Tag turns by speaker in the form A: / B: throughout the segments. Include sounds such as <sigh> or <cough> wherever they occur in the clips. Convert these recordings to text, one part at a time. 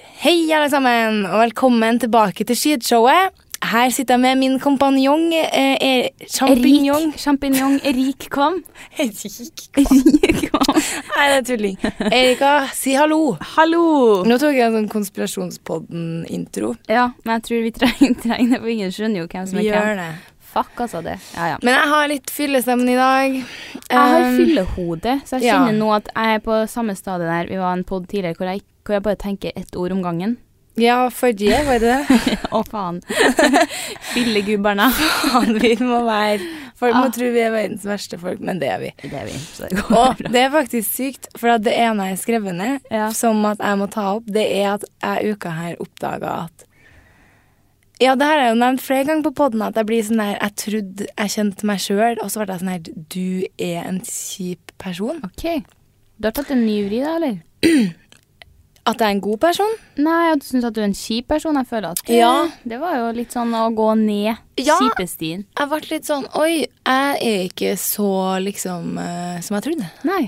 A: Hei, alle sammen, og velkommen tilbake til Skidshowet. Her sitter jeg med min kompanjong eh, er- Champignon.
B: Erik, champignon, Erik <laughs> kom.
A: Erik.
B: Erik kom.
A: Nei, det er tulling. <laughs> Erika, si hallo.
B: Hallo!
A: Nå tok jeg en sånn Konspirasjonspodden-intro.
B: Ja, men jeg tror vi trenger, trenger det, for ingen skjønner jo hvem som
A: Vi
B: er hvem.
A: gjør det.
B: Fuck, altså, det. Ja, ja.
A: Men jeg har litt fyllestemmen i dag.
B: Jeg har
A: Um,
B: fyllehode, så jeg
A: ja.
B: kjenner nå at jeg er på samme stadie der vi var en pod tidligere, hvor jeg, hvor jeg bare tenker ett ord om <laughs> gangen.
A: Ja, forrige, var det
B: <laughs>
A: det? <laughs>
B: Å, faen. Fyllegubberna.
A: Faen, vi må være Folk må
B: Ah.
A: tro vi er verdens verste folk, men det er vi.
B: Det er vi, så det går
A: Og
B: bra.
A: det er faktisk sykt, for at det ene jeg har skrevet ned,
B: Ja.
A: som at jeg må ta opp, det er at jeg uka her oppdaga at Ja, det her har jeg jo nevnt flere ganger på poden, at jeg blir sånn her Jeg trodde jeg kjente meg sjøl, og så ble jeg sånn her Du er en kjip person.
B: OK. Du har tatt en ny vri, da, eller?
A: At jeg er en god person.
B: Nei, og du syns at du er en kjip person. Jeg føler at
A: Ja.
B: Det var jo litt sånn å gå ned
A: Ja.
B: kjipestien.
A: Jeg ble litt sånn Oi, jeg er ikke så liksom eh, som jeg trodde.
B: Nei.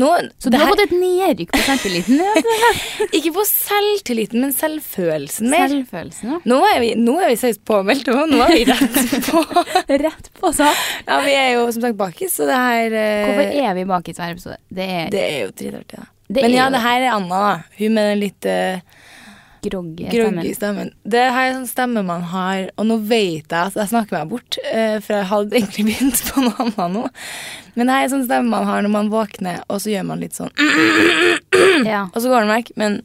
A: Nå,
B: Så du
A: det
B: har
A: her,
B: fått et nedrykk på selvtilliten? eller?
A: Ikke på selvtilliten, men selvfølelsen <laughs> mer. <laughs>
B: Selvfølelsen, ja.
A: Nå er vi, nå er vi seriøst påmeldt, og nå er vi rett på.
B: <laughs> Rett på sak.
A: Ja, vi er jo som sagt bakis, så det her eh,
B: Hvorfor er vi bak i hver episode? Det er
A: Det er jo dritartig, da.
B: Det
A: Men
B: er
A: ja,
B: jo-
A: det her er Anna, da. Hun med den litt eh,
B: groggy
A: groggy
B: stemmen.
A: stemmen. Det her er sånn stemme man har, og nå vet jeg at jeg snakker meg bort, eh, for jeg hadde egentlig <laughs> begynt på noe annet nå. Men det her er sånn stemme man har når man våkner, og så gjør man litt sånn, <clears throat>
B: Ja,
A: og så går den vekk, men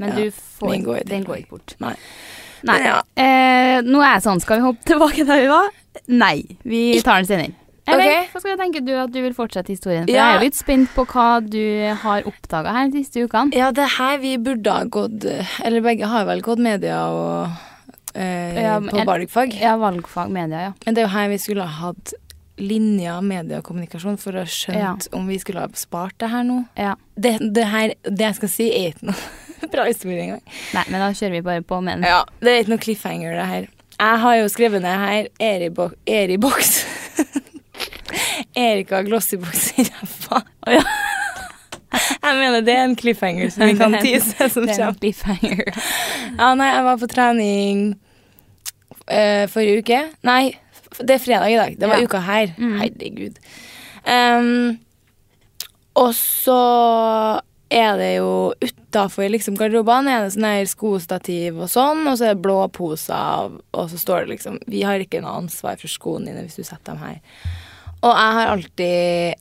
B: men
A: Ja,
B: du får
A: min går jo
B: Den
A: til.
B: går ikke bort.
A: nei.
B: Nei.
A: Men ja.
B: Eh, nå er jeg sånn, skal vi hoppe tilbake der vi var? Nei, vi tar den senere. Eller,
A: Ok.
B: hva skal jeg tenke du at du vil fortsette historien?
A: Ja.
B: For Jeg er jo litt spent på hva du har oppdaga her de siste ukene.
A: Ja, det her vi burde ha gått, eller begge har vel gått media og eh,
B: Ja, men-
A: på barnefag.
B: Ja, valgfag, media, ja.
A: Men det er jo her vi skulle ha hatt linja media og kommunikasjon for å ha skjønt om vi skulle ha spart det her nå.
B: ja.
A: Det, det her, det jeg skal si, er ikke noe <laughs> bra historie engang.
B: Nei, men da kjører vi bare på med den.
A: Ja, det er ikke noe cliffhanger, det her. Jeg har jo skrevet ned her Eribo- Eriboks. <laughs> Erika Glossyboks i ræva.
B: Å ja.
A: <laughs> Jeg mener det er en cliffhanger som vi kan tise som
B: <laughs> Det er en
A: kommer.
B: cliffhanger.
A: Ja, nei, jeg var på trening eh, forrige uke. Nei, f- det er fredag i dag. Det var
B: Ja.
A: uka her.
B: Mm.
A: Herregud. Em, og så er det jo utafor liksom, garderobene er det sånn her skostativ og sånn, og så er det blå poser, og så står det liksom Vi har ikke noe ansvar for skoene dine hvis du setter dem her. Og jeg har alltid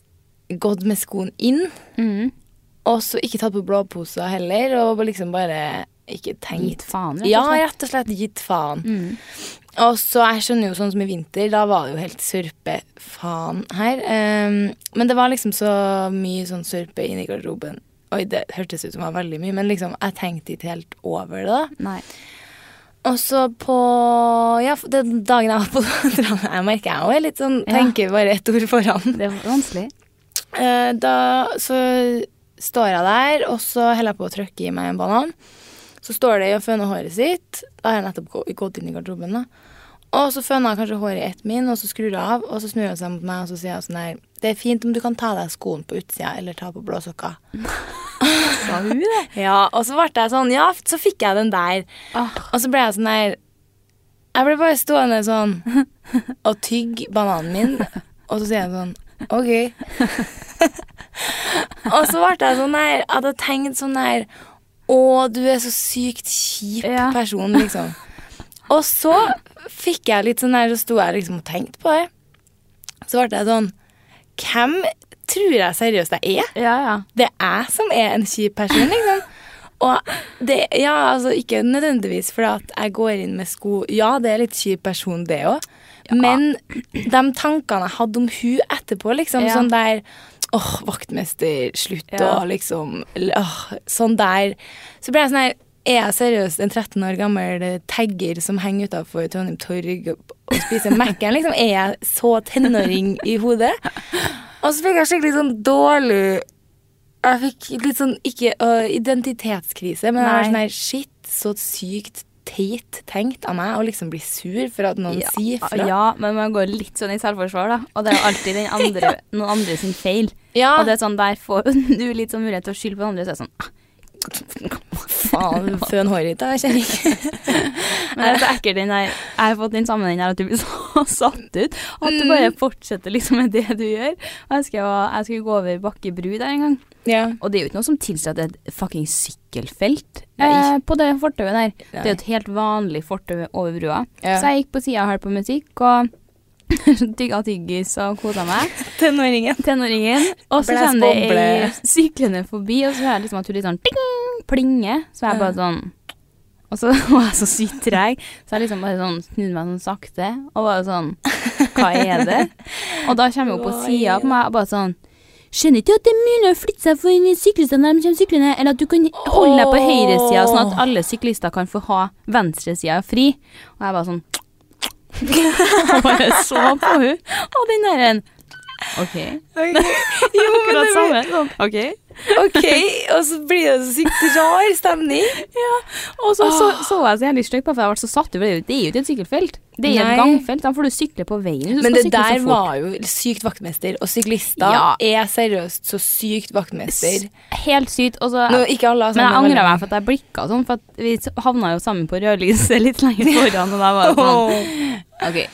A: gått med skoen inn,
B: <laughs> Mm.
A: og så ikke tatt på blå poser heller, og liksom bare ikke tenkt
B: Gitt faen,
A: ja,
B: og slett.
A: rett og slett gitt faen.
B: Mm.
A: Og så jeg skjønner jo sånn som i vinter, da var det jo helt surpefaen her. Ehm, men det var liksom så mye sånn surpe inni garderoben. Oi, det hørtes ut som det var veldig mye, men liksom, jeg tenkte ikke helt over det. da.
B: Nei.
A: Og så på Ja, for den dagen jeg var på <laughs> Trondheim, jeg merker jeg òg er litt sånn
B: Ja.
A: Tenker bare ett ord foran.
B: Det var vanskelig.
A: Eh, da så står jeg der, og så holder jeg på å trykke i meg en banan. Så står det i å føne håret sitt. Da har jeg nettopp gå- gått inn i garderoben. da. Og så føner jeg kanskje håret i ett min, og så skrur jeg av. Og så snur hun seg mot meg og så sier hun sånn her Det er fint om du kan ta av deg skoen på utsida, eller ta på blå sokker.
B: Sa hun det?
A: Ja, og så ble jeg sånn Ja, så fikk jeg den der.
B: Ah,
A: Og så ble jeg sånn der Jeg ble bare stående sånn <laughs> og tygge bananen min, og så sier jeg sånn OK. <laughs> og så ble jeg sånn der at jeg tenkte sånn der Å, du er så sykt kjip
B: Ja.
A: person, liksom. Og så fikk jeg litt sånn der, så sto jeg liksom og tenkte på det. Så ble jeg sånn Hvem tror jeg seriøst jeg er?
B: Ja, ja.
A: det er jeg som er en kjip person, liksom. Og det, ja, altså ikke nødvendigvis fordi at jeg går inn med sko Ja, det er litt kjip person, det òg. Men de tankene jeg hadde om hun etterpå, liksom,
B: Ja.
A: sånn der Åh, vaktmester, slutt,
B: Ja.
A: og liksom eller, åh, Sånn der. Så ble jeg sånn her Er jeg seriøst en 13 år gammel tagger som henger utafor Trondheim Torg og og spiser Mac-en, liksom? Er jeg så tenåring i hodet? Og så fikk jeg skikkelig sånn dårlig jeg fikk litt sånn, ikke øh, identitetskrise, men jeg var
B: Nei.
A: sånn her, shit, så sykt teit tenkt av meg å liksom bli sur for at noen
B: Ja, ah,
A: sier fra.
B: ja, men man går litt sånn i selvforsvar, da. Og det er jo alltid den <laughs> andre, noen andre sin feil.
A: Ja,
B: <laughs> Og det er sånn, der får du litt sånn mulighet til å skylde på den andre. Så er det sånn ah,
A: Faen, sånn føn håret ditt, da, kjenner jeg.
B: <laughs> Men det er så ekkelt den der Jeg har fått den samme den der at du blir <laughs> så satt ut. At du bare fortsetter liksom med det du gjør. Og jeg, husker jeg, var, jeg skulle gå over Bakke bru der en gang,
A: Ja.
B: og det er jo ikke noe som tilsier at det er et fucking sykkelfelt eh,
A: Nei.
B: på det fortauet der. Det er jo
A: Nei.
B: et helt vanlig fortau over brua.
A: Ja.
B: Så jeg gikk på sida og hørte på musikk og <laughs> tygga tyggis og kosa meg. <laughs>
A: Tenåringen.
B: Tenåringen. Og så
A: Blæs
B: kommer det ei
A: boble.
B: <laughs> syklende forbi, og så hører jeg liksom at hun litt sånn ding, plinge. Så jeg bare sånn Og så <laughs> var jeg så sykt treg, så jeg liksom bare sånn snudde meg sånn sakte og bare sånn Hva er det? Og da kommer hun på
A: Hva er
B: sida på
A: det?
B: meg og bare sånn Skjønner ikke at det er mulig å flytte seg for syklistene når de kommer syklende, eller at du kan holde deg på høyresida, sånn at alle syklister kan få ha venstresida fri. Og jeg bare sånn <laughs> Og bare så på hun og den der en OK.
A: <laughs>
B: <laughs>
A: Jo, men
B: Akkurat
A: det blir-
B: samme. Sånn. OK.
A: Ok, og så blir det så sykt rar stemning.
B: Og så så, så jeg så jævlig stygt på, for jeg ble så satt ut. for Det er jo- det er jo ikke et sykkelfelt. Det er jo
A: Nei.
B: et gangfelt. Da får du sykle på veien. Du
A: Men
B: skal
A: det
B: sykle så
A: der
B: fort.
A: var jo sykt vaktmester, og syklister
B: Ja.
A: er seriøst så sykt vaktmester.
B: Helt sykt. Og så
A: Nå, ikke alle har
B: Men jeg
A: samme
B: angra
A: holdning.
B: meg for at jeg blikka sånn, for at vi s- havna jo sammen på rødlyset
A: <laughs>
B: litt lenger foran, og da var det sånn OK,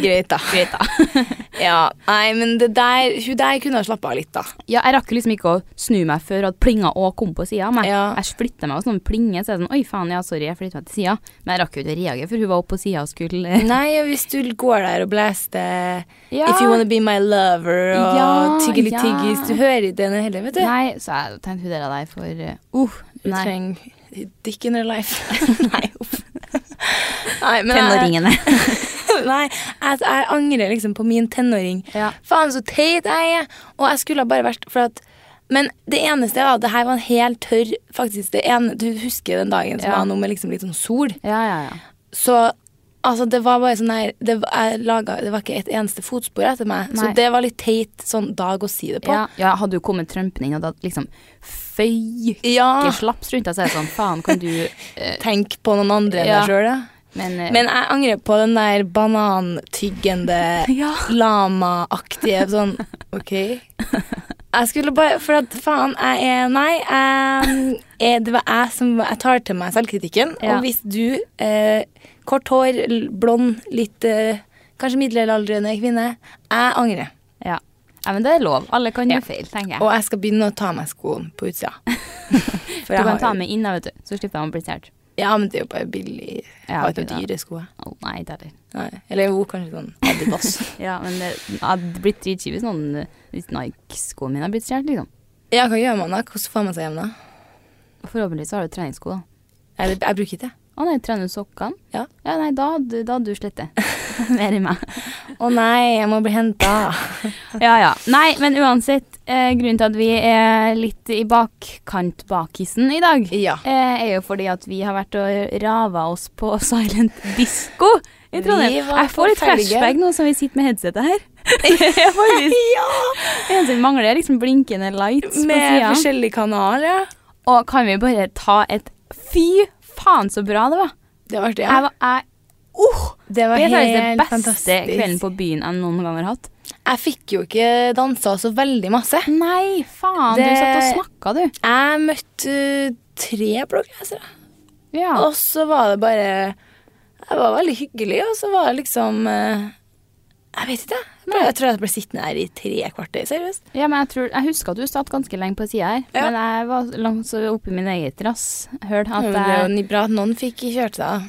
A: Greit, da.
B: <laughs> greit, da.
A: Ja, nei, men det der, hun der kunne ha slappa av litt, da.
B: Ja, jeg rakk jo liksom ikke å snu meg før at plinga òg kom på sida av meg.
A: Ja.
B: Jeg flytta meg, og sånn plinge, så er det sånn Oi, faen, ja, sorry, jeg flytta meg til sida. Men jeg rakk jo ikke å reagere, for hun var oppe på sida og skulle
A: Nei, og hvis du går der og blaster
B: ja.
A: If you wanna be my lover og
B: Ja,
A: tyggeli
B: ja.
A: tyggis Du hører ikke den heller, vet du.
B: Nei, så jeg tenkte hun der av deg for uh, uh,
A: Du
B: Nei.
A: trenger dick in her
B: <laughs>
A: life. nei, uff. nei, men jeg,
B: Tenåringene.
A: <laughs> nei jeg, jeg angrer liksom på min tenåring.
B: <laughs> Ja.
A: Faen, så teit jeg er! Og jeg skulle ha bare vært for at men det eneste var at det her var en helt tørr faktisk det ene, Du husker den dagen som
B: Ja.
A: var nå med liksom litt sånn sol?
B: ja, ja, ja.
A: Så altså, det var bare sånn her det, var- jeg laget, det var ikke et eneste fotspor etter meg.
B: Nei.
A: Så det var litt teit sånn dag å si det på.
B: Ja, ja, hadde jo kommet Trumpen inn og da liksom føyke
A: Ja,
B: slaps rundt deg, så er det sånn Faen, kan du <laughs> eh,
A: Tenk på noen andre enn
B: Ja.
A: deg sjøl, ja.
B: Men, eh,
A: Men jeg angrer på den der banantyggende
B: <laughs> ja.
A: lama-aktige sånn OK. Jeg skulle bare For at faen, jeg er Nei, jeg, jeg, det var jeg som Jeg tar til meg selvkritikken.
B: Ja.
A: Og hvis du eh, Kort hår, l- blond, litt eh, Kanskje middelaldrende kvinne. Jeg angrer.
B: Ja. ja, men det er lov. Alle kan
A: Ja.
B: gjøre feil, tenker jeg.
A: Og jeg skal begynne å ta av meg skoene på
B: <laughs>
A: utsida. For
B: du
A: jeg
B: kan ta
A: har,
B: med inn, da, vet du. Så slipper de å bli stjålet.
A: ja, men det er jo bare billig. Jeg
B: Ja,
A: har
B: ok,
A: ikke
B: da.
A: noen dyre sko. jeg.
B: Å, nei, det er det.
A: Nei. Eller jo, kanskje sånn Adidas.
B: <laughs> Ja, men det jeg hadde blitt dritkjipt hvis noen eh, hvis Nike-skoene mine hadde blitt stjålet, liksom.
A: ja, hva gjør man da? Hvordan får man seg hjem da?
B: Forhåpentligvis har du treningssko, da.
A: Jeg, jeg bruker ikke det.
B: Å nei, trener du sokkene?
A: Ja.
B: ja. Nei, da hadde da hadde du <laughs> slettet. Mer i meg.
A: Å nei, jeg må bli henta.
B: Ja, ja. Nei, men uansett, eh, grunnen til at vi er litt i bakkant bakisen i dag,
A: Ja.
B: eh, er jo fordi at vi har vært og rava oss på <laughs> silent disco i Trondheim.
A: Vi var
B: Jeg får litt
A: på felgen.
B: flashback nå som vi sitter med headsetet
A: <laughs>
B: her. <laughs> Det er faktisk Det eneste vi mangler, er liksom blinkende lights
A: Med
B: på sida.
A: forskjellige kanaler.
B: Og kan vi bare ta et Fy faen, så bra det var!
A: Det var artig.
B: Jeg var, jeg, oh,
A: det
B: det
A: var
B: er faktisk den
A: helt
B: beste
A: fantastisk.
B: kvelden på byen jeg noen gang har hatt.
A: Jeg fikk jo ikke dansa så veldig masse.
B: Nei, faen! Du
A: Det-
B: satt og snakka, du.
A: Jeg møtte uh, tre blogglesere,
B: Ja.
A: og så var det bare Jeg var veldig hyggelig, og så var det liksom uh, Jeg vet ikke, jeg. Jeg ble- Jeg tror jeg ble sittende her i tre kvarter, seriøst.
B: Ja, men jeg, tror, jeg husker at du satt ganske lenge på sida her,
A: Ja.
B: men jeg var langt så oppe i min eget rasshull
A: Ja,
B: at
A: men det er jo
B: jeg
A: ni- bra at noen fikk kjørt seg.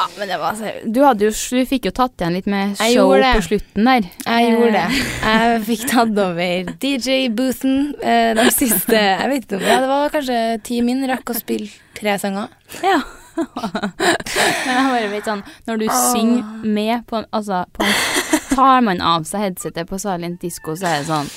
B: ja, men det var seriøst. Du, hadde jo, du fikk jo tatt igjen litt med
A: Jeg
B: show
A: gjorde det.
B: på slutten der.
A: Jeg gjorde det. Jeg fikk tatt over DJ-boothen eh, de siste Jeg vet ikke om ja, Det var kanskje ti min. Rakk å spille tre sanger.
B: Eh, Ja. <laughs> men jeg bare vet sånn, når du synger med på en Altså, på en, tar man av seg headsetet på Salient Disko, så er det sånn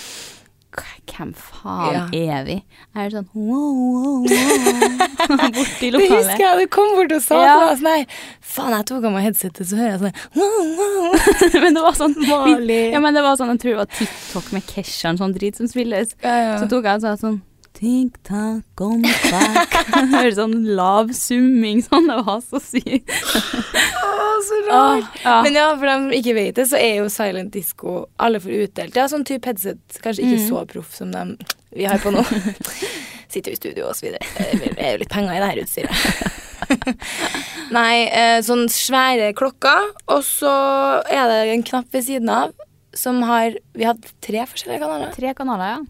B: k- Hvem faen er vi? Jeg er sånn wow, wow, wow.
A: <laughs>
B: <laughs> Borti
A: Det husker
B: lokalet.
A: jeg, du kom bort og sa
B: Ja.
A: til meg sånn her Faen, jeg tok av meg headsetet, så hører jeg sånn her, wow, wow,
B: men det var sånn vi-
A: Mali.
B: Ja, men det var sånn, jeg tror det var TikTok med Kesha og sånn drit som spilles.
A: Ja, ja.
B: Så tok jeg og sa sånn TikTok on back. <laughs> Hører sånn lav summing sånn. Det var så sykt.
A: Å, så
B: Åh, ja.
A: Men ja, for dem som ikke vet det, så er jo silent disco
B: Mm. <laughs>
A: alle får utdelt. Ja, sånn type headset. Kanskje ikke så proff som dem vi har på nå. sitter jo i studio og så videre. Det er jo litt penger i det her utstyret.
B: <laughs>
A: Nei, eh, sånn svære klokker, og så er det en knapp ved siden av som har Vi hadde tre forskjellige kanaler.
B: Tre kanaler,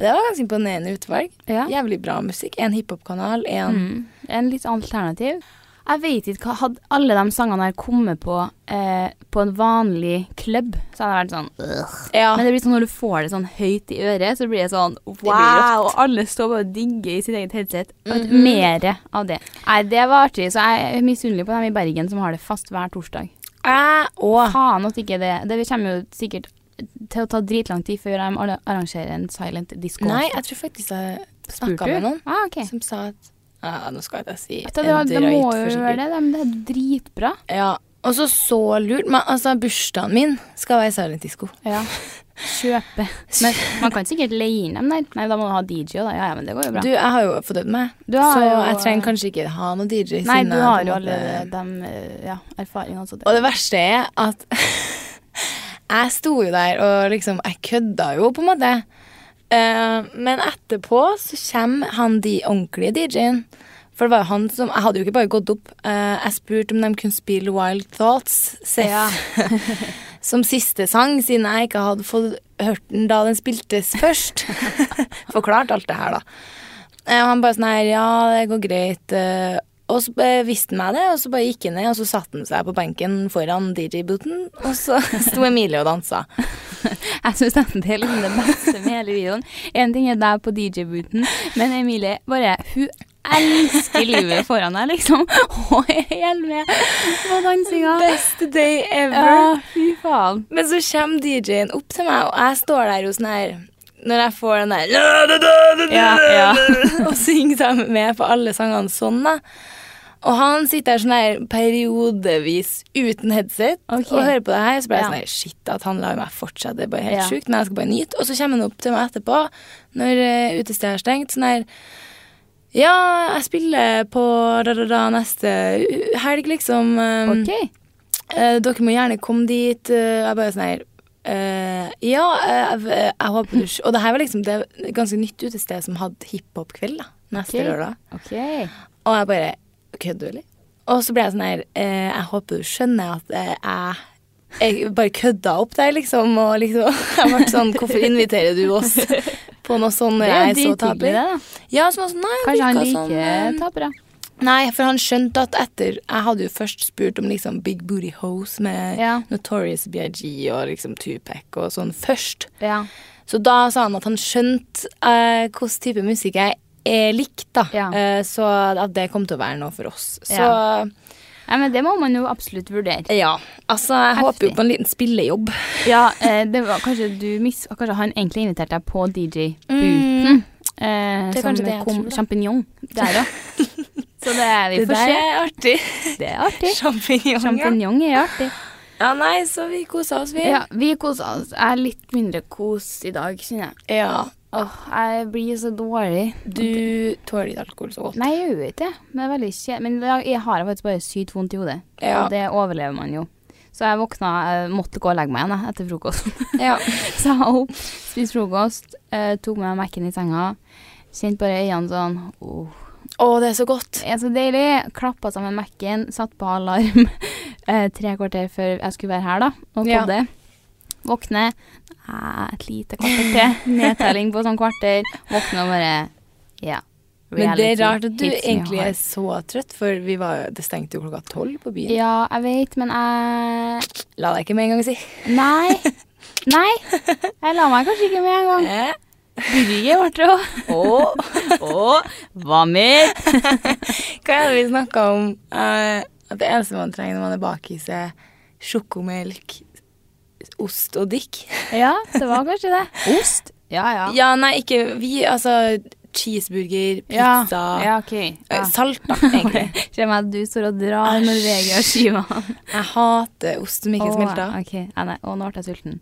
A: Det var ganske imponerende utvalg.
B: ja.
A: Jævlig bra musikk. En hiphop-kanal, en
B: Mm. En litt alternativ. Jeg vet ikke, hva- Hadde alle de sangene her kommet på eh, på en vanlig klubb, så hadde jeg vært sånn «Ugh».
A: Ja.
B: Men det blir sånn når du får det sånn høyt i øret, så blir det sånn wow!
A: rått.
B: Og alle står bare og digger i sitt eget headset. Og
A: Mhm.
B: Mere av det. Nei, det var artig. Så jeg er misunnelig på dem i Bergen som har det fast hver torsdag.
A: Jeg òg.
B: Faen at ikke det Det kommer jo sikkert til å ta dritlang tid før de alle arrangerer en silent disco.
A: Nei, jeg tror faktisk jeg snakka med noen
B: Ah, ok.
A: som sa at ja, Nå skal ikke jeg si
B: Det, det, det
A: drøyt
B: må jo
A: forskjellig.
B: være det. De- Det er dritbra.
A: Ja. Og så så lurt. Men altså, bursdagen min skal være silent disco.
B: Ja. Kjøpe. Men man kan sikkert leie inn dem der. Nei, da må du ha DJ, da. Ja, ja, men det går jo bra.
A: Du, jeg har jo fordømt meg,
B: Du har
A: så
B: jo-
A: jeg trenger kanskje ikke ha noen DJ.
B: Nei,
A: siden
B: du
A: jeg på
B: har
A: en
B: jo
A: måte-
B: alle de eh, ja, erfaringene. Så det.
A: Og det verste er at <laughs> jeg sto jo der og liksom Jeg kødda jo, på en måte. Eh, men etterpå så kommer han de ordentlige DJ-en. For det var jo han som Jeg hadde jo ikke bare gått opp. Eh, jeg spurte om de kunne spille Wild Thoughts, Seth,
B: Ja.
A: som siste sang, siden jeg ikke hadde fått hørt den da den spiltes først. <laughs> Forklart alt det her, da. Eh, Og han bare sånn her, ja, det går greit. eh, Og så eh, visste han meg det, og så bare gikk han ned, og så satte han seg på benken foran DJ-booten, og så <laughs> sto Emilie og dansa.
B: <laughs> Jeg syns det er liksom det beste med hele videoen. Én ting er deg på DJ-booten, men Emilie bare Hun elsker livet foran deg, liksom. <laughs> Og er helt med på dansinga.
A: Best day
B: Ja, fy faen.
A: Men så kommer DJ-en opp til meg, og jeg står der jo sånn her når jeg får den der «La, da, da, da, da,
B: Ja, ja.
A: da», <laughs> Og synger sammen med på alle sangene sånn, da. Og han sitter der sånn her periodevis uten headset
B: Ok.
A: og hører på det her. Så ble jeg
B: Ja.
A: sånn her Shit, at han lar meg fortsette. Det er bare helt
B: Ja.
A: sjukt. Men jeg skal bare nyte. Og så kommer han opp til meg etterpå, når eh, utestedet er stengt, sånn her Ja, jeg spiller på da, da, da, neste u- helg, liksom. Um,
B: OK.
A: Eh, dere må gjerne komme dit. Eh, jeg bare sånn her eh, Ja, eh, jeg, jeg håper du Og det her var liksom det er et ganske nytt utested som hadde hiphop-kveld da, neste
B: Ok.
A: lørdag.
B: ok.
A: Og jeg bare Kødder du, eller? Og så ble jeg sånn her eh, Jeg håper du skjønner at eh, jeg jeg bare kødda opp der, liksom. Og liksom, <laughs> jeg ble sånn Hvorfor inviterer du oss på noe sånn
B: Det
A: når
B: er
A: jeg
B: jo
A: er så
B: drithyggelig,
A: taper?
B: det, da.
A: Ja, så var jeg sånn, nei, jeg
B: Kanskje han
A: virka
B: liker
A: eh,
B: tapere.
A: Nei, for han skjønte at etter Jeg hadde jo først spurt om liksom Big Booty Hose med
B: Ja.
A: Notorious BIG og liksom Tupac og sånn først.
B: Ja.
A: Så da sa han at han skjønte eh, hvilken type musikk jeg er likt, da.
B: Ja.
A: Eh, så at det kom til å være noe for oss. Så
B: Ja.
A: ja,
B: Nei, men det må man jo absolutt vurdere.
A: altså Jeg
B: Heftig.
A: håper jo på en liten spillejobb.
B: Ja, eh, det var kanskje du mis... Kanskje han egentlig inviterte deg på DJ-booten. Eh,
A: Det er
B: som
A: kanskje det jeg
B: kom
A: tror, da.
B: sjampinjong der òg. <laughs> Så det er vi
A: Det
B: får
A: der
B: se.
A: er artig.
B: Det er artig.
A: Sjampinjong. Ja.
B: Sjampinjong er artig.
A: ja, nei, så vi kosa oss, vi.
B: Ja, vi koser oss. Jeg er litt mindre kos i dag, kjenner jeg.
A: Ja.
B: Åh, jeg blir så dårlig.
A: Du tåler ikke alkohol så godt.
B: Nei, jeg gjør ikke det. Men det er veldig kjedelig. Men i dag jeg har jeg faktisk bare sykt vondt i hodet.
A: Ja.
B: Og det overlever man jo. Så jeg våkna, jeg måtte gå og legge meg igjen jeg, etter frokost.
A: Ja.
B: <laughs> Så jeg var opp, spiste frokost, eh, tok med meg Mac-en i senga. Kjente bare øynene sånn Åh,
A: Å, det er så godt.
B: det er så deilig. Klappa sammen Mac-en, satt på alarm <laughs> eh, tre kvarter før jeg skulle være her, da, og
A: Ja.
B: podde. Våkne eh, et lite kvarter til. Nedtelling på sånn kvarter. Våkne og bare Ja.
A: Men det er
B: reality
A: rart at du
B: hits me
A: egentlig
B: hard.
A: er så trøtt, for vi var, det stengte jo klokka tolv på byen.
B: Ja, jeg vet, men jeg
A: La deg ikke med en gang si.
B: Nei. Nei. Jeg la meg kanskje ikke med en gang.
A: Eh,
B: Brygge ble det òg. Hva mer?
A: Hva er det vi snakka om? Eh, at det eneste man trenger når man er bakis, er sjokomelk, ost og dick.
B: Ja, det var kanskje det. Ost? Ja, ja.
A: Ja, nei, ikke vi. Altså cheeseburger, pizza
B: Ja, ok.
A: eh,
B: Ja.
A: Salt,
B: <laughs>
A: da, egentlig.
B: Kjenner at du står og drar Norvegia-skiva.
A: Jeg hater ost som ikke
B: Åh,
A: smelter. <laughs>
B: ok. Ja, nei. Å, nå ble jeg sulten.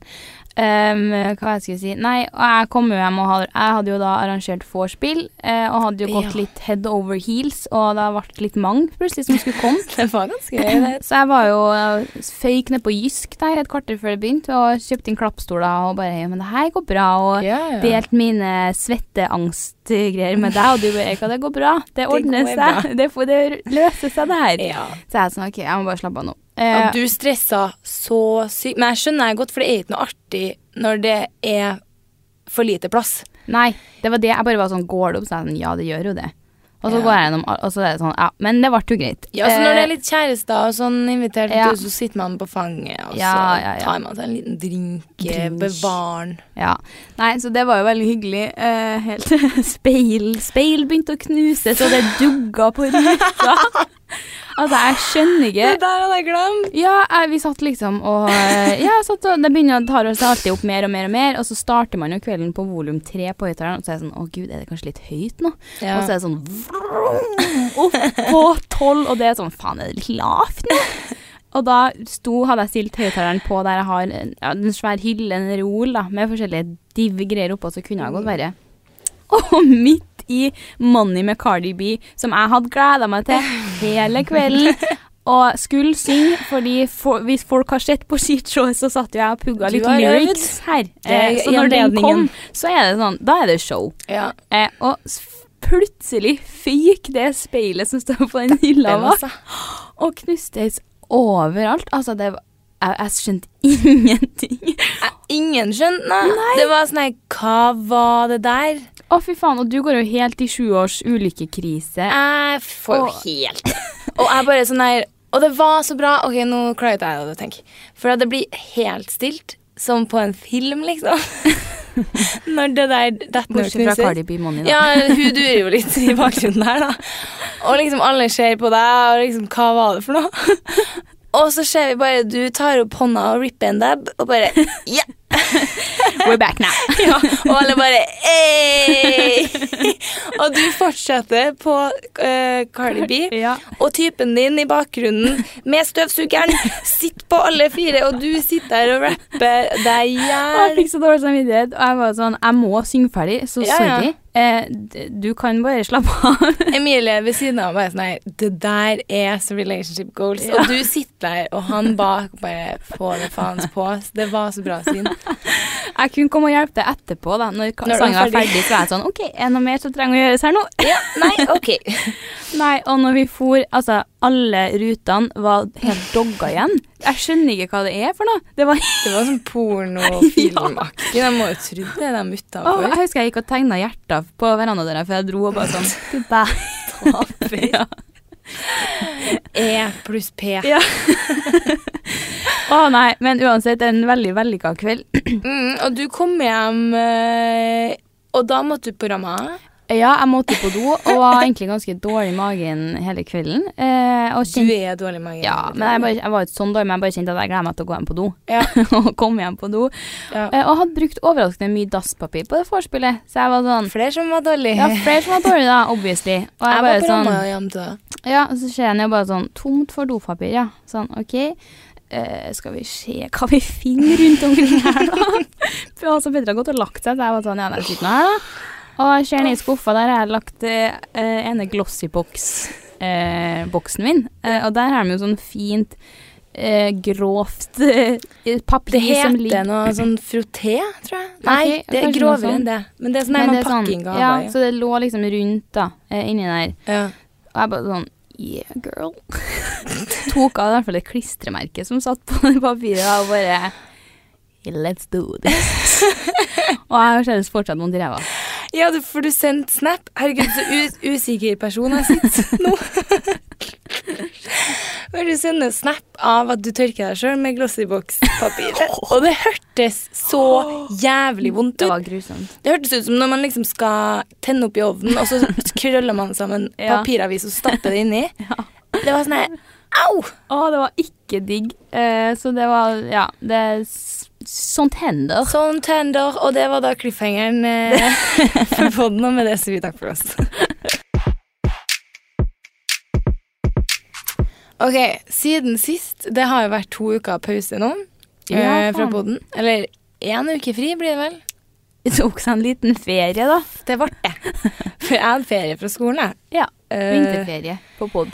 B: Um, hva jeg skulle si? Nei, og jeg kom jo hjem og hadde, jeg hadde jo da arrangert vorspiel, eh, og hadde jo gått
A: Ja.
B: litt head over heels, og det ble litt mange plutselig som skulle komme.
A: Det var ganske gøy. det.
B: Så jeg var jo eh, føyk ned på Jysk der et kvarter før det begynte, og kjøpte inn klappstoler og bare ja, men det her går bra, og
A: Ja, ja.
B: delte mine svetteangst greier med deg, og du bare 'Eka, det går bra. Det
A: går
B: ordner
A: bra.»
B: seg. Det, får- det løser seg, det her'.
A: Ja.
B: Så jeg er sånn 'OK, jeg må bare slappe av nå'.
A: Ja,
B: Eh,
A: du stressa så sykt. Men jeg skjønner jeg godt, for det er ikke noe artig når det er for lite plass.
B: Nei, det var det. Jeg bare var sånn 'Går det opp?' Så jeg er sånn 'Ja, det gjør jo det'. Og så
A: Ja.
B: går jeg gjennom al- Og så er det sånn Ja, men det ble jo greit.
A: Ja, så Når det
B: Eh,
A: er litt kjærester og sånn invitert,
B: Ja.
A: ut, så sitter man på fanget, og
B: Ja,
A: så
B: ja, ja.
A: tar man seg en liten drink, eh,
B: Drink.
A: bevaren.
B: Ja. Nei, så det var jo veldig hyggelig. Eh, helt <laughs> speil Speil begynte å knuses, og det dugga på ruta. altså, jeg skjønner ikke
A: der hadde jeg glemt!
B: ja, jeg, vi satt liksom og eh, Ja, jeg satt og Det begynner å ta seg alltid opp mer og mer og mer, og så starter man jo kvelden på volum tre på høyttaleren, og så er det sånn Å, gud, er det kanskje litt høyt nå?
A: Ja.
B: Og så er det sånn vroom, opp på tolv, og det er sånn Faen, er det litt lavt nå? <laughs> Og da sto, hadde jeg stilt høyttaleren på der jeg har en, ja, en svær hylle, en reol, da, med forskjellige div-greier oppå, så kunne jeg godt være <laughs> Og midt i Money med Cardi B, som jeg hadde gleda meg til hele kvelden. <laughs> Og skulle synge, fordi for, hvis folk har sett på skishowet, så satt jo jeg og pugga
A: Du
B: litt
A: har øvd.
B: lyrics her.
A: Det er
B: Eh, så når den kom,
A: anledningen.
B: så er det sånn Da er det show.
A: ja.
B: Eh, og s- plutselig fyk det speilet som står på den hylla
A: Den,
B: bak,
A: altså.
B: og knustes overalt. Altså, det var Jeg, jeg skjønte <laughs> ingenting.
A: Jeg, ingen skjønte nei. Det var sånn her Hva var det der?
B: Å, fy faen. Og du går jo helt i sjuårs ulykkekrise.
A: Jeg får jo
B: Og-
A: helt Og jeg bare sånn her Og det var så bra. Ok, nå klarer ikke jeg det, tenker jeg. For at det blir helt stilt, som på en film,
B: <laughs>
A: liksom. Når det der detter ned og
B: Bortsett fra
A: knuses.
B: Cardi B Money, da.
A: Ja, hun durer jo litt i bakgrunnen der, da. Og liksom alle ser på deg, og liksom Hva var det for noe? <laughs> Og så ser vi bare du tar opp hånda og ripper en dab, og bare <laughs> Ja!
B: <laughs> We're back now.
A: Ja, og alle bare «Ei!» <laughs> Og du fortsetter på eh, Cardi B.
B: <laughs> Ja.
A: Og typen din i bakgrunnen med støvsugeren sitter på alle fire, og du sitter her og rapper deg i
B: Og jeg
A: hjel.
B: fikk så dårlig samvittighet, og jeg var sånn Jeg må synge ferdig, så
A: Ja, ja.
B: sorry. Eh, d- du kan bare slappe av. <laughs>
A: Emilie ved siden av bare sånn her Det der er så relationship goals. Og du sitter der, og han bak bare Få det faens på. Det var så bra syn.
B: Jeg kunne komme og hjelpe deg etterpå, da. Når,
A: Når du er
B: sangen var
A: ferdig.
B: ferdig, så var jeg sånn OK, er det noe mer som trenger å gjøres her nå?
A: Ja, nei, OK.
B: Nei, og når vi for, altså alle rutene var helt dogga igjen. Jeg skjønner ikke hva det er for noe. Det var
A: Det var sånn pornofilmaktig. De må jo tro det, de
B: Å,
A: utafor.
B: Jeg husker jeg gikk og tegna hjerter på verandadøra før jeg dro og bare <laughs> sånn Du <laughs> bærer ja.
A: E pluss P.
B: Ja. Å nei, men uansett, en veldig vellykka kveld.
A: Mm, og du kom hjem, eh, og da måtte du på Rama.
B: Ja, jeg måtte på do og var egentlig ganske dårlig i magen hele kvelden. Eh, og
A: Du
B: kjente
A: er dårlig i magen.
B: ja, men jeg, bare, jeg var ikke sånn dårlig, men jeg bare kjente at jeg gleder meg til å gå hjem på do.
A: Ja.
B: <laughs> og kom hjem på do.
A: Ja.
B: Eh, og hadde brukt overraskende mye dasspapir på det vorspielet, så jeg var sånn
A: Flere som var dårlig.
B: Ja, flere som var dårlige, da, obviously. Og jeg,
A: jeg var
B: bare
A: på
B: sånn
A: Rama hjem til deg.
B: Ja, og så ser jeg ned og bare sånn Tomt for dopapir, ja. Sånn, OK. Eh, skal vi se hva vi finner rundt omkring her, da? <laughs> For altså, Petter har gått og lagt seg, så jeg var sånn Ja, nei, sitt nå her, da. Og jeg ser ned i skuffa, der har jeg lagt eh, eh, ene Glossybox-boksen eh, boksen min. Eh, og der har de jo sånn fint eh, grovt eh, papir
A: Det
B: som
A: heter
B: ligger
A: noe sånn frotté, tror jeg. Nei,
B: Ok,
A: det er
B: kanskje noe
A: grovere
B: sånn.
A: enn det. Men det er sånn her
B: Men
A: man
B: det er
A: pakker inn
B: ja,
A: gaver.
B: Så det lå liksom rundt, da, eh, inni der.
A: Ja.
B: Og jeg bare sånn Yeah, girl. <laughs> Tok av i hvert fall det klistremerket som satt på det papiret, og bare Let's do this. <laughs> og jeg har selvsagt fortsatt vondt i ræva.
A: Ja. du, for du sendte snap. Herregud, så us usikker person jeg sitter nå. Når du sender snap av at du tørker deg sjøl med Glossybox-papir. Og det hørtes så jævlig vondt
B: Det
A: ut.
B: var grusomt.
A: Det hørtes ut som når man liksom skal tenne opp i ovnen, og så krøller man sammen
B: Ja.
A: papiravis og stapper det inni. Det var sånn her Au!
B: Å, det var ikke digg. Eh, så det var Ja, det er s- Sånt hender.
A: Sånn tender, og det var da cliffhangeren eh,
B: <laughs>
A: for podden, og med det sier vi takk for oss. Ok, siden sist, det har jo vært to uker pause nå
B: Ja,
A: eh, fra
B: faen.
A: podden. Eller én uke fri blir det vel?
B: Det tok seg en liten ferie, da.
A: Det ble det. For jeg hadde ferie fra skolen, jeg.
B: Ja.
A: Eh,
B: Vinterferie på pod.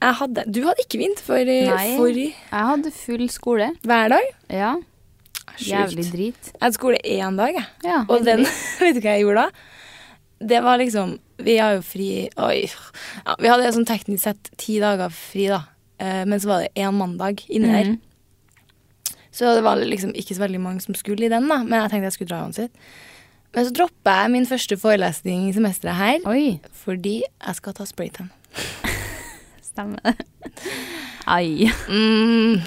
A: jeg hadde, du hadde ikke vinter for,
B: Nei.
A: for
B: Jeg hadde full skole.
A: hver dag.
B: Ja.
A: Sjukt.
B: Jævlig drit.
A: Jeg hadde skole én dag, jeg.
B: Ja,
A: Og den, vet du hva jeg gjorde da? det var liksom Vi har jo fri Oi. Ja, vi hadde sånn teknisk sett ti dager fri, da. Eh, men så var det én mandag inni der.
B: Mhm.
A: Så det var liksom ikke så veldig mange som skulle i den, da. Men jeg tenkte jeg skulle dra uansett. Men så droppa jeg min første forelesning i semesteret her
B: Oi,
A: fordi jeg skal ta spraytan.
B: stemmer det. Ai,
A: Mm,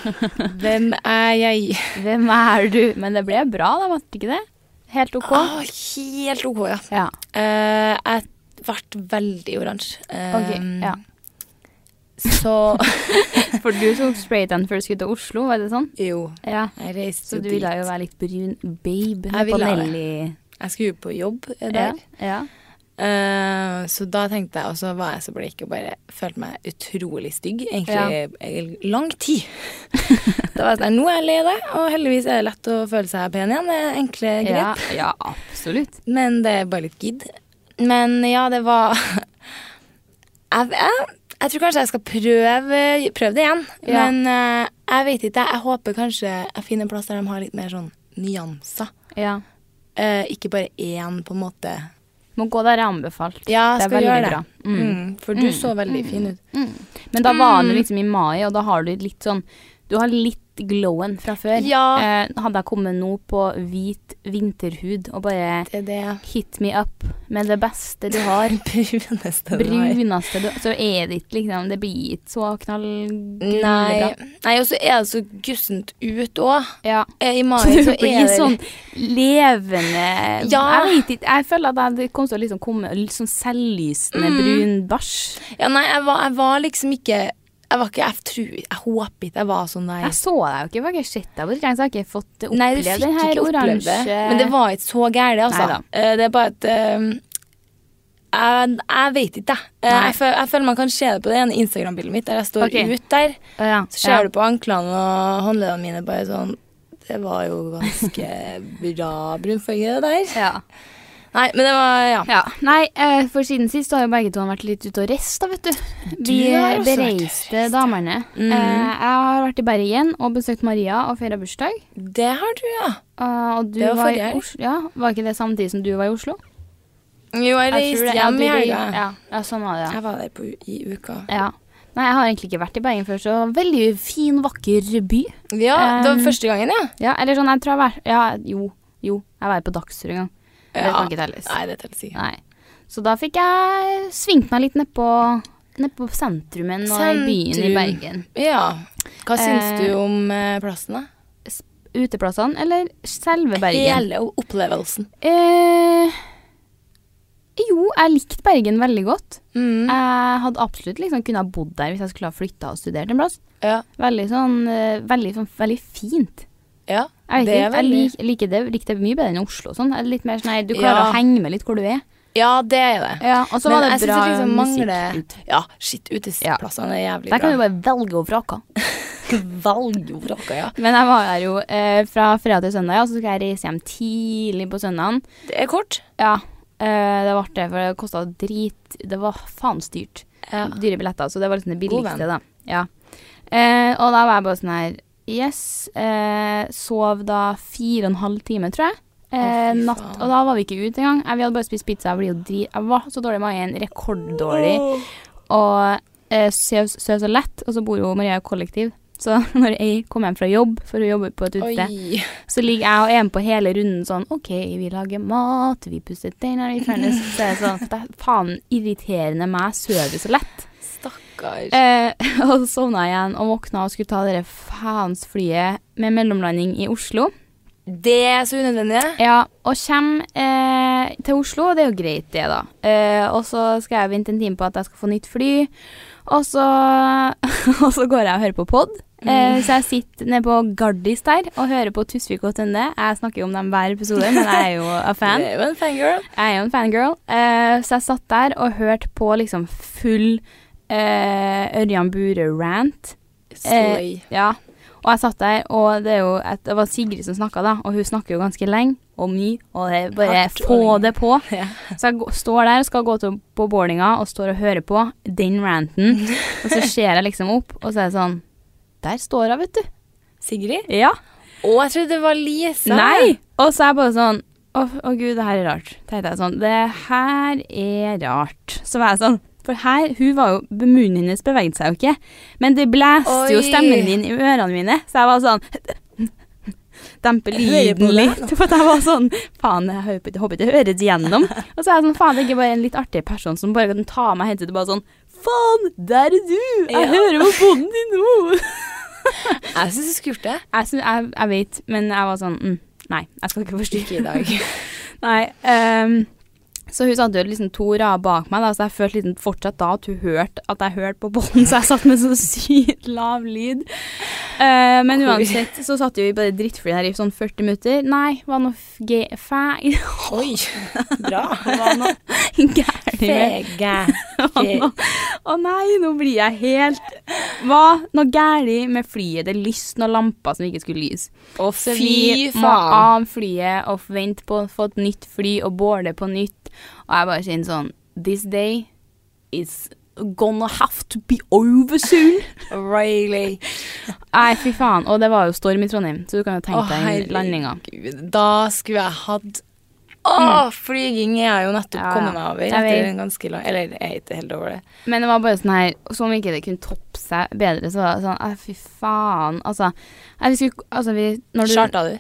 B: <laughs>
A: hvem er jeg?
B: hvem er du? Men det ble bra, da, var det ikke det? Helt OK?
A: Ah, helt OK, ja.
B: Ja.
A: Eh, jeg ble veldig oransje. Eh,
B: ok, ja.
A: Så
B: For du tok spraytan før du skulle til Oslo, var det sånn?
A: Jo,
B: Ja.
A: jeg reiste
B: Så
A: jo
B: du
A: dit.
B: ville jo være litt brun babe
A: Jeg
B: på
A: ville det.
B: Nelly
A: Jeg skulle jo på jobb eh, der.
B: der. Ja.
A: Eh, så da tenkte jeg, og så var jeg så blek og bare følte meg utrolig stygg, egentlig i lang tid. <laughs> da var jeg sånn, "Nei, nå er jeg lei deg, og heldigvis er det lett å føle seg pen igjen. Det er enkle
B: Ja.
A: grep.
B: Ja, ja, absolutt.
A: Men det er bare litt gidd. Men ja, det var <laughs> jeg, jeg, jeg tror kanskje jeg skal prøve, prøve det igjen.
B: Ja.
A: Men eh, jeg vet ikke. Jeg håper kanskje jeg finner en plass der de har litt mer sånn nyanser.
B: Ja.
A: Eh, ikke bare én, på en måte.
B: Må gå der jeg er
A: Ja,
B: anbefalt. det
A: jeg
B: er
A: skal
B: veldig
A: gjøre det.
B: bra.
A: Mm.
B: Mm.
A: for du
B: Mm.
A: så veldig fin ut.
B: Men da var det liksom i mai, og da har du litt sånn Du har litt glowen fra før.
A: Ja.
B: Eh, hadde jeg kommet nå på hvit vinterhud og bare
A: Det er det
B: hit me up med det beste du <laughs> har,
A: <laughs> bruneste du har.
B: bruneste du Så er det ikke liksom Det blir ikke så knallbra.
A: Nei, Nei og så er det så gussent ut òg.
B: <laughs> Ja.
A: I mai
B: Så du
A: så
B: blir
A: er det
B: sånn levende
A: Ja.
B: Jeg vet ikke. Jeg føler at jeg- det kommer til å liksom komme litt sånn selvlysende brun bæsj.
A: Ja, nei, jeg var, jeg var liksom ikke Jeg var ikke, jeg tror Jeg håper ikke jeg var sånn der.
B: Jeg så deg jo ikke, for jeg har ikke sett deg på dritlenge, så jeg har ikke fått oppleve
A: Nei, du fikk
B: den her
A: ikke oppleve det.
B: oransje
A: Men det var ikke så gærent, altså.
B: Neida.
A: Eh, Det er bare at eh, jeg, jeg vet ikke, jeg. Eh,
B: Nei.
A: Jeg, føl, jeg føler man kan se det på det ene Instagram-bildet mitt der jeg står
B: Ok.
A: ut der.
B: ja.
A: Så ser du på anklene og håndleddene mine bare sånn Det var jo ganske <laughs> bra brunfarge, det der.
B: Ja.
A: Nei, men det var Ja.
B: ja. Nei, eh, for siden sist så har jo begge to vært litt ute og reist, da, vet du. Vi
A: har også vært ute og
B: bereiste damene.
A: Mhm.
B: Eh, jeg har vært i Bergen og besøkt Maria og feira bursdag.
A: Det har du, ja.
B: Eh, og du
A: Det var
B: var,
A: forrige
B: i
A: helg.
B: Oslo. Ja, var ikke det samtidig som du var i Oslo?
A: Jo, jeg
B: Jeg tror
A: reiste
B: det. Ja,
A: hjem
B: du
A: i
B: rei-
A: helga.
B: Ja, ja, sånn var det, ja.
A: Jeg var der på, u- i uka.
B: ja. Nei, jeg har egentlig ikke vært i Bergen før, så veldig fin, vakker by.
A: Ja, det var
B: Um,
A: første gangen, ja.
B: Ja, eller sånn, jeg tror jeg var Ja, jo, jo, jeg var på Dagsrevyen en gang. Det
A: Ja.
B: kan ikke telles.
A: Nei, det teller sikkert.
B: Nei. Så da fikk jeg svingt meg litt nedpå ned på sentrumen og i byen i
A: Sentrum.
B: Bergen.
A: Ja. Hva syns
B: Eh,
A: du om eh, plassen, da?
B: Uteplassene eller selve Bergen?
A: Hele o- opplevelsen.
B: Eh, jo, jeg likte Bergen veldig godt.
A: Mm.
B: Jeg hadde absolutt liksom kunnet ha bodd der hvis jeg skulle ha flytta og studert en plass.
A: Ja.
B: Veldig sånn, eh, veldig, sånn veldig fint.
A: ja.
B: Jeg, vet
A: Det er
B: ikke, jeg
A: veldig-
B: lik, liker det, likte det mye bedre enn Oslo. og Sånn. Jeg er Litt mer sånn, nei, du klarer
A: Ja.
B: å henge med litt hvor du er.
A: Ja, det er det.
B: Ja, og så
A: Men
B: var det
A: jeg synes
B: bra
A: det liksom
B: musikk.
A: mangler-
B: ut.
A: Ja, shit, uteplassene er jævlig
B: Der kan du
A: bra.
B: bare velge og vrake.
A: Valgvraka, ja.
B: Men jeg var der jo eh, fra fredag til søndag, og så skal jeg reise hjem tidlig på søndagen.
A: Det er kort.
B: Ja, eh, det ble det, for det kosta drit Det var faen styrt.
A: Ja.
B: Dyre billetter, så det var liksom det
A: God
B: billigste, da. Ja. Eh, og da var jeg bare sånn her Yes. Eh, sov da fire og en halv time, tror jeg. Eh,
A: Å, fy
B: natt,
A: faen.
B: og da var vi ikke ute engang. Jeg- Vi hadde bare spist pizza. Jeg, blir jo dri jeg var så dårlig i magen. Rekorddårlig. Og eh, søv søv så lett, og så bor jo Maria i kollektiv. Så <laughs> når jeg kommer hjem fra jobb, for hun jobber på et utested,
A: Oi.
B: så ligger jeg og er med på hele runden sånn OK, vi lager mat, vi pusser tenner i fjernes Så er det sånn det er Faen, irriterende meg, sover så lett.
A: Stakkar.
B: Eh, <laughs> og så sovna jeg igjen og våkna og skulle ta det der faens flyet med mellomlanding i Oslo.
A: Det er så unødvendig.
B: Ja, og kommer eh, til Oslo, og det er jo greit det, da. Eh, og så skal jeg vente en time på at jeg skal få nytt fly, og så, <laughs> og så går jeg og hører på pod. Eh, så jeg sitter nede på Gardis der og hører på Tusvik og Tønne. Jeg snakker jo om dem hver episode, men jeg er jo a fan.
A: Det er jo en fangirl.
B: Jeg er jo en fangirl, eh, så jeg satt der og hørte på liksom full eh, Ørjan Bure-rant.
A: Eh, Slay.
B: Ja. Og jeg satt der, og det, er jo et, det var Sigrid som snakka, da. Og hun snakker jo ganske lenge og mye, og det er bare
A: Hardt og
B: få
A: lenge.
B: det på.
A: <laughs> Ja.
B: Så jeg gå- står der og skal gå til, på boardinga og står og hører på den ranten.
A: <laughs>
B: Og så ser jeg liksom opp, og så er det sånn Der står hun, vet du.
A: Sigrid?
B: Ja.
A: Å, jeg trodde det var Lisa.
B: Nei! Og så er jeg bare sånn Å, å gud, det her er rart, tenkte jeg sånn. Det her er rart. Så var jeg sånn, for her, hun var jo, munnen hennes beveget seg jo ikke, men det blæste jo
A: Oi.
B: stemmen din i ørene mine, så jeg var sånn, <laughs> dempe
A: Jeg hører på
B: lyden
A: deg
B: litt, for jeg var sånn, faen, jeg håper ikke- håper ikke det høres igjennom. Og så er jeg sånn, faen, det er ikke bare en litt artig person som bare kan ta meg hentet og bare sånn, faen, der er du, jeg
A: Ja.
B: hører på bonden din nå.
A: <laughs>
B: <laughs>
A: Jeg syns du skulle gjort det.
B: Jeg, synes, jeg, jeg vet, men jeg var sånn, mm, nei, jeg skal ikke forstyrre.
A: Ikke i dag.
B: <laughs> Nei. ehm, så hun satt jo liksom to rader bak meg, da, så jeg følte liksom fortsatt da at hun hørte at jeg hørte på bånden, så jeg satt med så sykt lav lyd. Eh, men
A: Oi.
B: uansett så satt vi bare drittfly her i sånn 40 minutter. Nei, var noe f- ge- fæ...
A: <laughs>
B: <laughs>
A: Oi. Bra.
B: Var
A: <laughs>
B: noe gærent med
A: Fege.
B: var noe- Å nei, nå blir jeg helt Hva? Noe gærent med flyet. Det lyste noen lamper som ikke skulle lyse.
A: Å,
B: Så vi må av flyet og vente på å få et nytt fly og boarde på nytt. Og jeg bare kjenner sånn This day is gonna have to be over soon.
A: Riley.
B: <laughs> Nei, fy faen. Og det var jo storm i Trondheim, så du kan jo tenke
A: Å,
B: deg den landinga.
A: herregud. Da skulle jeg hatt Å, flyging er jeg jo nettopp
B: Ja, ja.
A: kommet meg over.
B: Jeg
A: Etter
B: vet.
A: en ganske lang Eller jeg er ikke helt over det.
B: Men det var bare sånn her Som om ikke det kunne toppe seg bedre, så var det sånn Nei, fy faen. Altså, jeg husker altså, vi når du,
A: Charta du?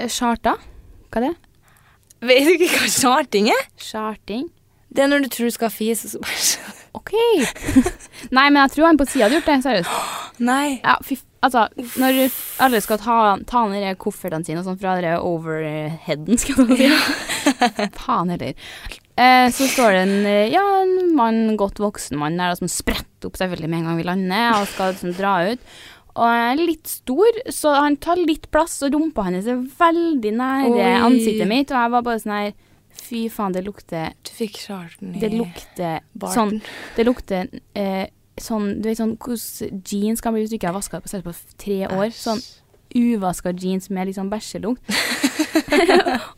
B: Eh, Charta? Hva er det?
A: Vet du ikke hva charting er?
B: Charting?
A: Det er når du tror du skal fise, og så bare
B: OK. <laughs> Nei, men jeg tror han på sida hadde gjort det. Seriøst.
A: Nei.
B: Ja, fy, f- altså, når alle skal ta, ta ned de koffertene sine og sånn fra den overheaden, skal man si. <laughs> Faen heller. Eh, så står det en, eh, ja, en mann, godt voksen mann der da, som spretter opp selvfølgelig med en gang vi lander og skal liksom dra ut. Og han er litt stor, så han tar litt plass, og rumpa hans er veldig nære
A: Oi.
B: ansiktet mitt. Og jeg var bare sånn her Fy faen, det lukter
A: Du fikk charten i
B: Det lukter sånn
A: barten.
B: det lukter eh, sånn Du vet sånn hvordan jeans kan bli hvis du ikke har vaska på selv på f- tre år. Sånn uvaska jeans med liksom <laughs> bæsjelukt.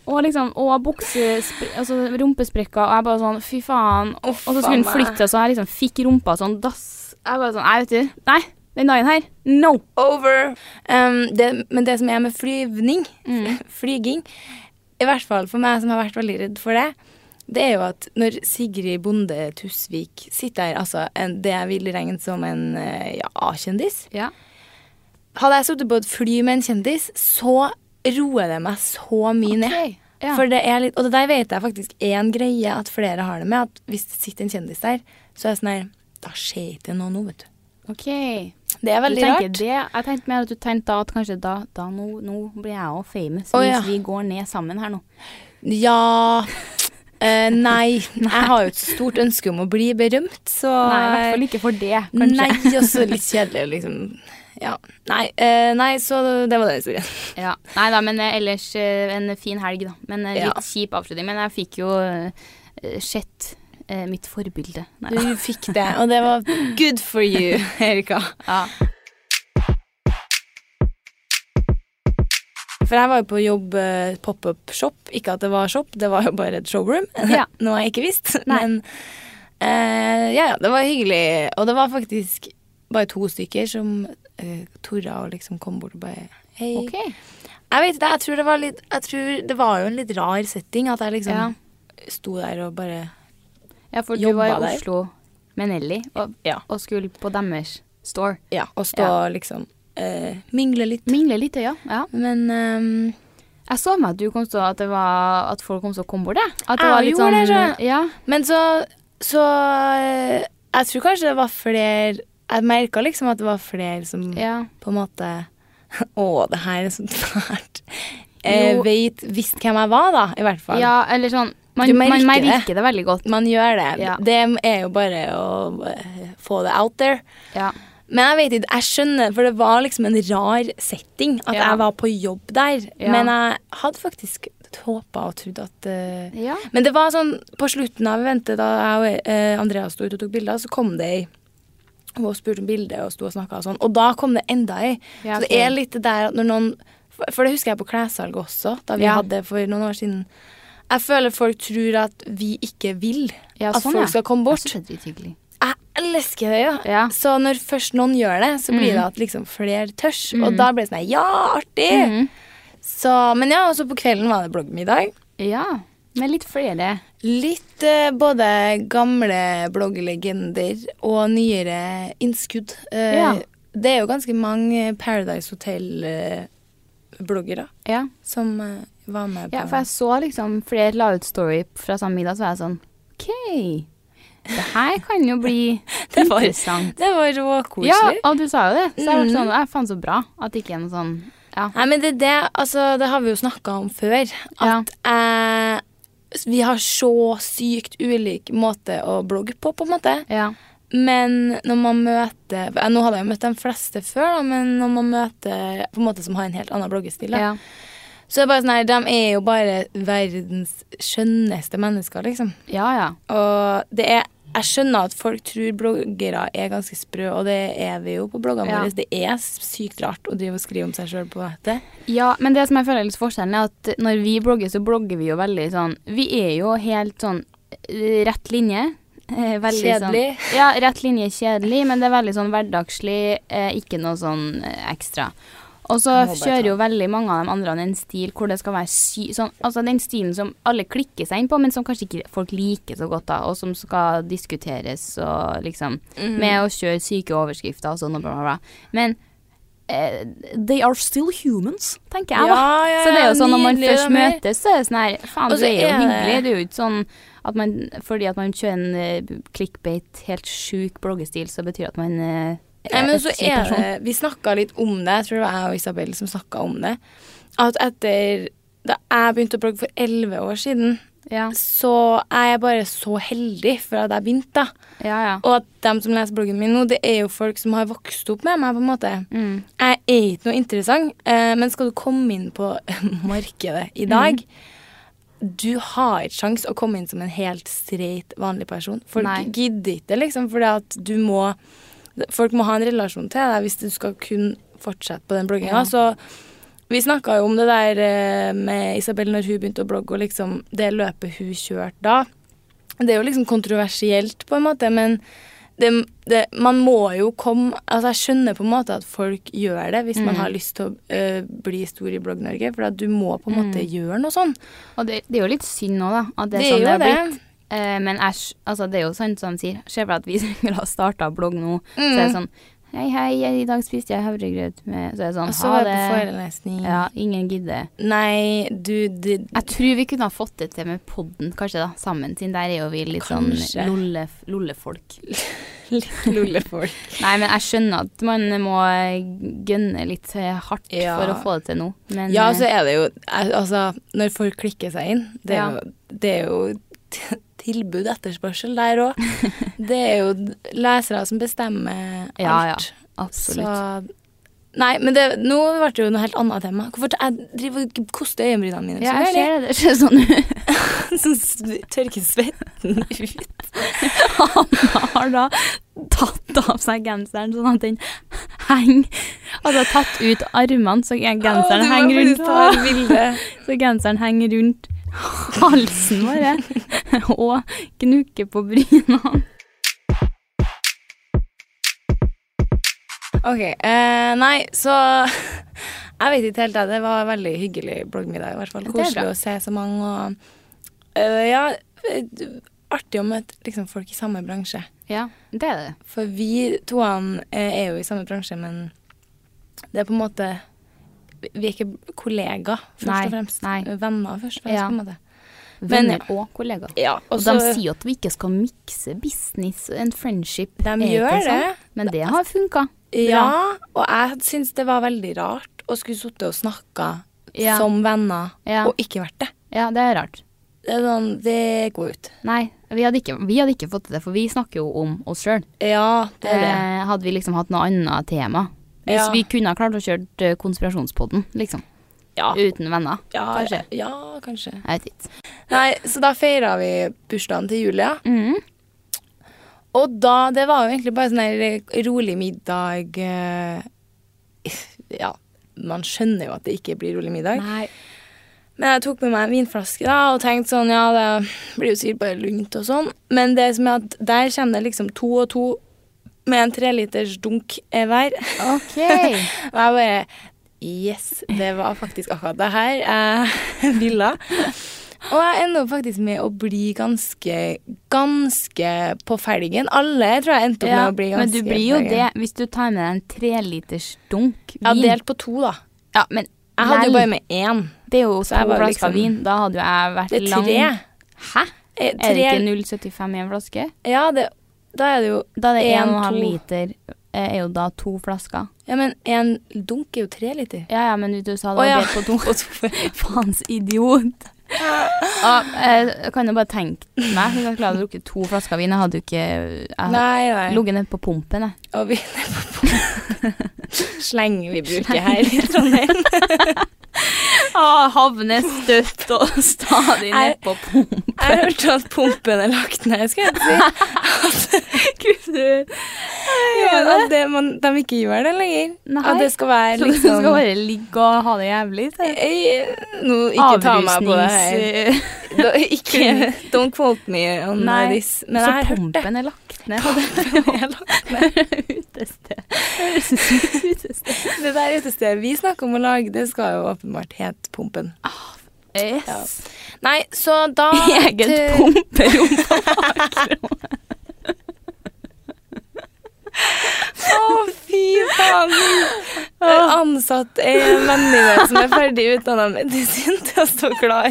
B: og liksom Og bukse... Altså rumpesprekker. Og jeg bare sånn Fy faen. Og
A: Uff,
B: så skulle
A: faen
B: hun
A: meg.
B: flytte, så jeg liksom fikk rumpa sånn dass. Jeg bare sånn Nei, vet du. Nei. Den dagen her. No.
A: Over. Um, det, men det som er med flyvning,
B: Mm.
A: <laughs> flyging, i hvert fall for meg som har vært veldig redd for det, det er jo at når Sigrid Bonde Tusvik sitter her, altså en, det jeg vil regne som en eh, ja, A-kjendis
B: Ja.
A: Hadde jeg sittet på et fly med en kjendis, så roer det meg så mye ned.
B: Ok, ja.
A: For det er litt, og det der vet jeg faktisk er en greie at flere har det med. At hvis det sitter en kjendis der, så er jeg sånn her Da skjer ikke noe nå, vet du.
B: OK.
A: Det er
B: du
A: veldig
B: tenker
A: rart.
B: det. Jeg tenkte mer at du tenkte da at kanskje da, da nå, nå blir jeg òg famous
A: Å,
B: hvis
A: ja.
B: vi går ned sammen her nå.
A: Ja eh, nei. Jeg har jo et stort ønske om å bli berømt, så
B: Nei, i hvert fall ikke for det, kanskje.
A: Nei, også litt kjedelig, liksom. Ja. Nei, eh, nei, så det var den historien.
B: Ja. Nei da, men eh, ellers eh, en fin helg, da. Men eh, litt
A: Ja.
B: kjip avslutning. Men jeg fikk jo eh, sett eh, mitt forbilde.
A: <laughs>
B: Nei.
A: Du fikk det, og det var good for you, Erika.
B: Ja.
A: For jeg var jo på jobb eh, pop-up-shop. Ikke at det var shop, det var jo bare et showroom.
B: Ja.
A: Noe jeg ikke visste.
B: Nei.
A: Men eh, ja, ja, det var hyggelig. Og det var faktisk bare to stykker som uh, torde å liksom komme bort og bare Hei.
B: OK.
A: Jeg vet ikke, jeg tror det var litt Jeg tror det var jo en litt rar setting at jeg liksom
B: Ja.
A: sto der og bare
B: Ja, for du
A: Jobba
B: var i
A: der.
B: Oslo med Nelly og,
A: Ja.
B: og skulle på deres store.
A: Ja, og stå
B: Ja.
A: og liksom eh, mingle litt.
B: Mingle litt, ja. ja.
A: Men ehm,
B: Jeg så meg at du kom så at, det var, at folk kom så kom bort, jeg. At det
A: Jeg
B: var litt
A: gjorde
B: sånn
A: det, så jeg.
B: Ja.
A: Men så, så eh, Jeg tror kanskje det var flere Jeg merka liksom at det var flere som
B: ja.
A: på en måte <laughs> Å, det her er så fælt. Eh,
B: Jo.
A: Veit visst hvem jeg var, da, i hvert fall.
B: ja, eller sånn Man,
A: Du
B: man
A: merker det.
B: merker det veldig godt.
A: Man gjør det.
B: Ja.
A: Det er jo bare å eh, få det out there.
B: Ja.
A: Men jeg vet ikke, jeg skjønner, for det var liksom en rar setting at
B: Ja.
A: jeg var på jobb der.
B: Ja.
A: Men jeg hadde faktisk håpa og trodd at eh,
B: ja.
A: Men det var sånn, på slutten av eventet, da jeg og eh, Andrea sto ute og tok bilder, så kom det ei og hun spurte om bildet og sto og snakka og sånn. Og da kom det enda ei.
B: Ja,
A: Så det
B: ok.
A: er litt det der at når noen For for det husker jeg på klessalg også, da vi
B: Ja.
A: hadde for noen år siden. Jeg føler folk tror at vi ikke vil
B: Ja,
A: at
B: sånn,
A: folk
B: ja.
A: skal komme bort.
B: Jeg synes det er drithyggelig.
A: Jeg elsker det, ja.
B: Ja.
A: Så når først noen gjør det, så blir
B: Mm.
A: det at liksom flere tørs. Og da blir det sånn her, Ja, artig!
B: Mhm.
A: Så, men ja, også på kvelden var det bloggmiddag.
B: Ja, med litt flere.
A: Litt eh, både gamle blogglegender og nyere innskudd. Eh,
B: Ja.
A: Det er jo ganske mange Paradise Hotel-bloggere
B: Ja.
A: som eh, var med på
B: ja, for jeg så liksom flere la ut story fra samme middag, så var jeg sånn OK, det her kan jo bli
A: <laughs> Det var-
B: interessant.
A: Det var
B: Ja,
A: råkoselig.
B: og du sa jo det, så jeg ble
A: Mhm.
B: sånn Jeg faen så bra at det ikke er noe sånn Ja.
A: Nei, men det, er det, altså, det har vi jo snakka om før. At eh, vi har så sykt ulik måte å blogge på, på en måte.
B: ja.
A: Men når man møter eh, Nå hadde jeg jo møtt de fleste før, da, men når man møter på en måte som har en helt annen bloggestil, da,
B: ja.
A: så er det bare sånn her, de er jo bare verdens skjønneste mennesker, liksom.
B: Ja, ja.
A: Og det er jeg skjønner at folk tror bloggere er ganske sprø, og det er vi jo på bloggene
B: Ja.
A: våre. Det er sykt rart å drive og skrive om seg sjøl på nettet.
B: Ja, men det som jeg føler er litt forskjellen, er at når vi blogger, så blogger vi jo veldig sånn Vi er jo helt sånn eh, rett linje. eh, veldig
A: Kjedelig.
B: Sånn, ja, rett linje kjedelig, men det er veldig sånn hverdagslig, eh, ikke noe sånn eh, ekstra. Og så
A: Jeg må bare
B: kjører jo veldig mange av de andre en stil hvor det skal være sy sånn, Altså den stilen som alle klikker seg inn på, men som kanskje ikke folk liker så godt, da, og som skal diskuteres og liksom
A: Mm.
B: Med å kjøre syke overskrifter og sånn og bla, bla, bla. Men eh, they are still humans, tenker jeg, da.
A: Ja, ja,
B: Så det er jo
A: ja,
B: sånn når man
A: nydelig,
B: først
A: det er mer-
B: møtes, så er det sånn her Faen,
A: Og så
B: du er jo
A: er det-
B: hyggelig. Det er jo ikke sånn at man Fordi at man kjører en eh, clickbait, helt sjuk bloggestil, så betyr det at man eh,
A: Nei, men
B: et
A: så
B: kjip
A: er
B: person.
A: det, Vi snakka litt om det, jeg tror det var jeg og Isabel som snakka om det. At etter Da jeg begynte å blogge for elleve år siden,
B: Ja,
A: så er jeg bare så heldig for at jeg begynte. da.
B: ja. ja.
A: Og at dem som leser bloggen min nå, det er jo folk som har vokst opp med meg. på en måte.
B: Mm.
A: Jeg er ikke noe interessant, eh, men skal du komme inn på <laughs> markedet i dag Du har ikke sjans å komme inn som en helt streit, vanlig person. Folk
B: Nei.
A: gidder ikke, liksom, fordi at du må Folk må ha en relasjon til deg hvis du skal kunne fortsette på den blogginga.
B: Ja.
A: Så vi snakka jo om det der eh, med Isabel når hun begynte å blogge, og liksom det løpet hun kjørte da. Det er jo liksom kontroversielt, på en måte, men det, det, man må jo komme Altså, jeg skjønner på en måte at folk gjør det hvis man
B: Mm.
A: har lyst til å eh, bli stor i Blogg-Norge, for at du må på en måte
B: Mm.
A: gjøre noe sånn.
B: Og det, det er jo litt synd nå, da. At det
A: Det
B: er
A: er
B: sånn det
A: jo
B: har
A: det.
B: blitt. Eh, men æsj, altså det er jo sant som de sier. Se for deg at vi <laughs> skulle ha starta blogg nå, så er det
A: Mm.
B: sånn Hei, hei, i dag spiste jeg havregrøt med Så er det sånn,
A: Og så
B: ha
A: var jeg
B: det.
A: på forelesning.
B: Ja, ingen gidder.
A: Nei, du det,
B: <laughs> Jeg tror vi kunne ha fått det til med podden, kanskje, da, sammen, siden der er jo vi litt
A: Kanskje.
B: sånn lolle, lollefolk.
A: Litt lollefolk.
B: Nei, men jeg skjønner at man må gønne litt eh, hardt
A: Ja.
B: for å få det til nå, men
A: <laughs> ja,
B: eh,
A: så er det jo al- Altså, når folk klikker seg inn, det er
B: Ja.
A: jo, det er jo t- tilbud etterspørsel der òg.
B: <laughs>
A: Det er jo d- lesere som bestemmer alt.
B: Ja, ja, absolutt.
A: Så Nei, men det, nå ble det jo noe helt annet tema. Hvorfor t- jeg driver og koster øyenbrynene mine?
B: Ja, jeg ser det. Det ser sånn ut.
A: <laughs> Så sv- tørker svetten ut.
B: <laughs> Hanna har da tatt av seg genseren sånn at den henger Altså tatt ut armene, så genseren henger
A: Å, du må faktisk
B: rundt
A: ta et bilde.
B: Så genseren henger rundt halsen vår
A: <laughs>
B: og gnukker på brynene.
A: <laughs> Ok, eh, nei, så <laughs> Jeg vet ikke helt, jeg. Det var veldig hyggelig bloggmiddag, i hvert fall.
B: Det er
A: Koselig
B: bra.
A: å se så mange og eh, Ja, eh, artig å møte liksom, folk i samme bransje.
B: Ja, det er det.
A: For vi toene eh, er jo i samme bransje, men det er på en måte Vi er ikke kollegaer, først
B: Nei,
A: og fremst.
B: nei.
A: Venner, først og fremst.
B: Ja.
A: på en måte.
B: Venner og kollegaer.
A: Ja,
B: Og
A: og så,
B: de sier at vi ikke skal mikse business and friendship.
A: De
B: Er ikke
A: gjør
B: sånn?
A: det.
B: Men det har funka.
A: Ja, og jeg syns det var veldig rart å skulle sitte og snakke
B: Ja.
A: som venner
B: Ja.
A: og ikke vært det.
B: Ja, det er rart.
A: Det, er sånn, det går ut.
B: Nei, vi hadde ikke, vi hadde ikke fått til det, for vi snakker jo om oss sjøl.
A: Ja, det er det.
B: Eh, hadde vi liksom hatt noe annet tema. Hvis
A: Ja.
B: vi kunne ha klart å kjøre eh, konspirasjonspodden, liksom.
A: Ja,
B: Uten venner.
A: ja,
B: kanskje.
A: Ja, kanskje.
B: Jeg vet ikke.
A: Nei, så da feira vi bursdagen til Julia.
B: Mm.
A: Og da Det var jo egentlig bare sånn her rolig middag eh, <laughs> Ja, man skjønner jo at det ikke blir rolig middag.
B: Nei.
A: Men jeg tok med meg en vinflaske da, og tenkte sånn, ja, det blir jo sikkert bare lunt og sånn. Men det som er at der kommer det liksom to og to med en treliters dunk eh, hver.
B: OK.
A: Og jeg bare Yes, det var faktisk akkurat det her jeg <laughs> ville. Og jeg ender opp faktisk med å bli ganske, ganske på felgen. Alle jeg tror jeg endte opp med å bli
B: men
A: ganske
B: du blir jo
A: på felgen.
B: det hvis du tar med deg en treliters dunk
A: Ja,
B: vin.
A: delt på to, da.
B: Ja, men
A: Jeg hadde jo
B: Vel.
A: bare med én.
B: det er jo
A: Så
B: to
A: jeg var
B: flasker
A: liksom-
B: vin. Da hadde jo jeg vært
A: Det er
B: lang
A: tre.
B: Hæ?
A: Eh,
B: Er det
A: tre.
B: ikke 0,75 i en flaske?
A: Ja, det, da er det jo
B: Da er det
A: En,
B: 1,5
A: to.
B: liter eh, Er jo da to flasker.
A: Ja, men en dunk er jo tre liter.
B: Ja, ja, men du sa
A: Å,
B: det var
A: ja.
B: delt på to.
A: <laughs>
B: <laughs> Faens idiot. Ja, jeg kan jo bare tenke meg Hvis jeg klarer å drukke to flasker vin Jeg hadde jo ikke Jeg
A: Nei, nei.
B: ligget nede på pumpen, jeg.
A: Og vi Sleng vi bruker her i Trondheim.
B: Ah, havner støtt
A: <laughs>
B: og stadig
A: ned
B: på pumpen.
A: Jeg hørte at pumpen er lagt ned, skal jeg si. Ja, at det, man, de ikke gjør det lenger.
B: Nei.
A: At det skal være
B: Så du
A: liksom
B: skal bare ligge og ha det jævlig? så-
A: Eh, Nå, ikke ta meg på det her.
B: Avrusnings-
A: Da, ikke, <laughs> don't quote me on
B: Nei.
A: this. Men
B: så
A: jeg har hørt det.
B: pumpen er lagt ned. <laughs> og det
A: Jeg la-
B: <laughs> Utested. Høres ut som utested.
A: <laughs> Det der utestedet vi snakker om å lage, det skal jo åpenbart hete Pumpen.
B: <laughs> Yes.
A: Nei, så <laughs> da
B: Ah, Eget pumperom på bakrommet.
A: Å, fy faen! Ansatt ei venninne som er ferdig utdanna medisin til å stå klar.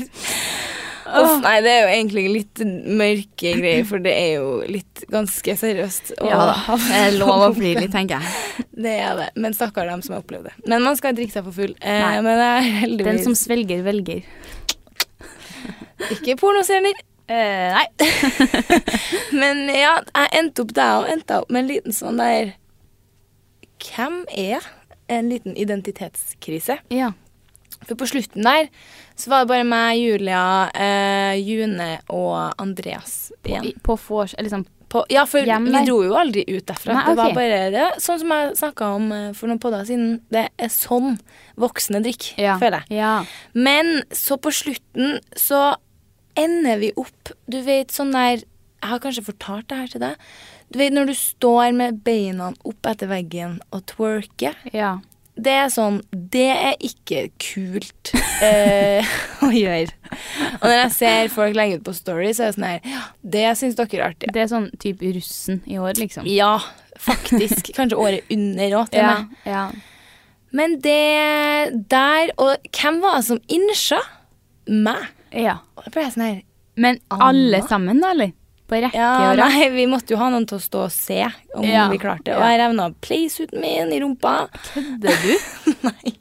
A: Uff, nei, det er jo egentlig litt mørke greier, for det er jo litt ganske seriøst. å
B: <laughs> Ja da.
A: havne
B: Det er
A: på
B: lov å
A: pumpen.
B: bli litt, tenker jeg.
A: <laughs> Det er det. Men stakkar dem som har opplevd det. Men man skal drikke seg for full. Eh,
B: Nei.
A: men det er heldigvis
B: <laughs> Den som svelger, velger.
A: ikke pornostjerner.
B: Eh, nei.
A: Men ja, jeg endte opp der og endte opp med en liten sånn der Hvem er jeg? En liten identitetskrise.
B: Ja.
A: For på slutten der så var det bare meg, Julia, eh, June og Andreas
B: På,
A: igjen.
B: på vors... Eller sånn
A: På, ja, for
B: Hjem
A: vi
B: der.
A: dro jo aldri ut derfra.
B: Nei,
A: Det var
B: ok.
A: bare det. Sånn som jeg snakka om eh, for noen podder siden. Det er sånn voksne drikker,
B: ja.
A: føler jeg.
B: Ja.
A: Men så på slutten så ender vi opp Du vet sånn der Jeg har kanskje fortalt det her til deg. Du vet når du står med beina opp etter veggen og twerker.
B: ja.
A: Det er sånn Det er ikke kult eh, <laughs> å gjøre. Og når jeg ser folk legge ut på story, så er det sånn her «Ja, Det syns dere er artig.
B: Det er sånn type russen i år, liksom.
A: Ja, faktisk. Kanskje året under òg, til og med.
B: ja.
A: Men det der Og hvem var det som innsa? Meg.
B: ja.
A: Og da ble jeg sånn her
B: Men alle sammen, da, eller? På rekke
A: Ja,
B: og rad?
A: nei, vi måtte jo ha noen til å stå og se om
B: Ja.
A: vi klarte det. Og
B: Ja.
A: jeg revna playsuiten min i rumpa.
B: Kødder <laughs> du?
A: Nei,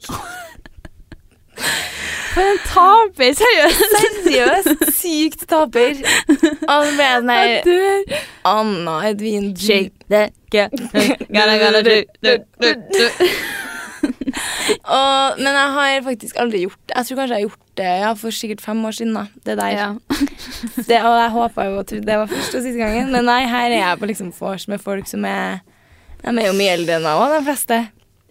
B: For en taper, seriøst! <laughs>
A: seriøst. Sykt taper. Og så ble jeg sånn
B: Jeg
A: her
B: dør.
A: Anna Edvin du- Og, men jeg har faktisk aldri gjort det. Jeg tror kanskje jeg har gjort det ja, for sikkert fem år siden. da Det der
B: Ja.
A: det, Og jeg håpa jo at det var første og siste gangen. Men nei, her er jeg på liksom vors med folk som er De er jo mye eldre enn meg òg, de fleste.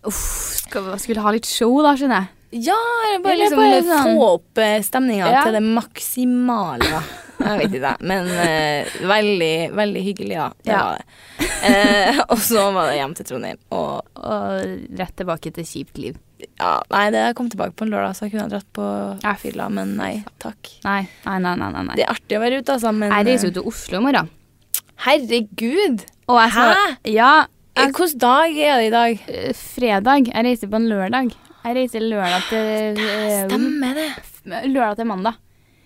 B: Uff, skal vi skulle ha litt show, da, skjønner jeg.
A: Ja, eller bare
B: Eller
A: liksom
B: bare sånn-
A: få opp eh, stemninga
B: Ja.
A: til det maksimale. da. Jeg vet ikke, det, men eh, veldig, veldig hyggelig, da. Det
B: Ja.
A: var det. Eh, <laughs> og så var det hjem til Trondheim. Og
B: Og rett tilbake til kjipt liv.
A: ja, nei, det jeg kom tilbake på en lørdag, så jeg kunne ha dratt på
B: Ja.
A: fylla, men nei takk.
B: Nei, nei, nei. nei, nei, nei.
A: Det er artig å være ute, altså, men
B: Jeg reiser
A: eh,
B: jo til Oslo i morgen.
A: Herregud!
B: Og jeg skal, Ja,
A: Eh, Hvilken
B: Altså-
A: dag er det i dag?
B: eh, fredag. Jeg reiser på en lørdag. Jeg reiser lørdag til eh,
A: Stemmer det.
B: Lørdag til mandag.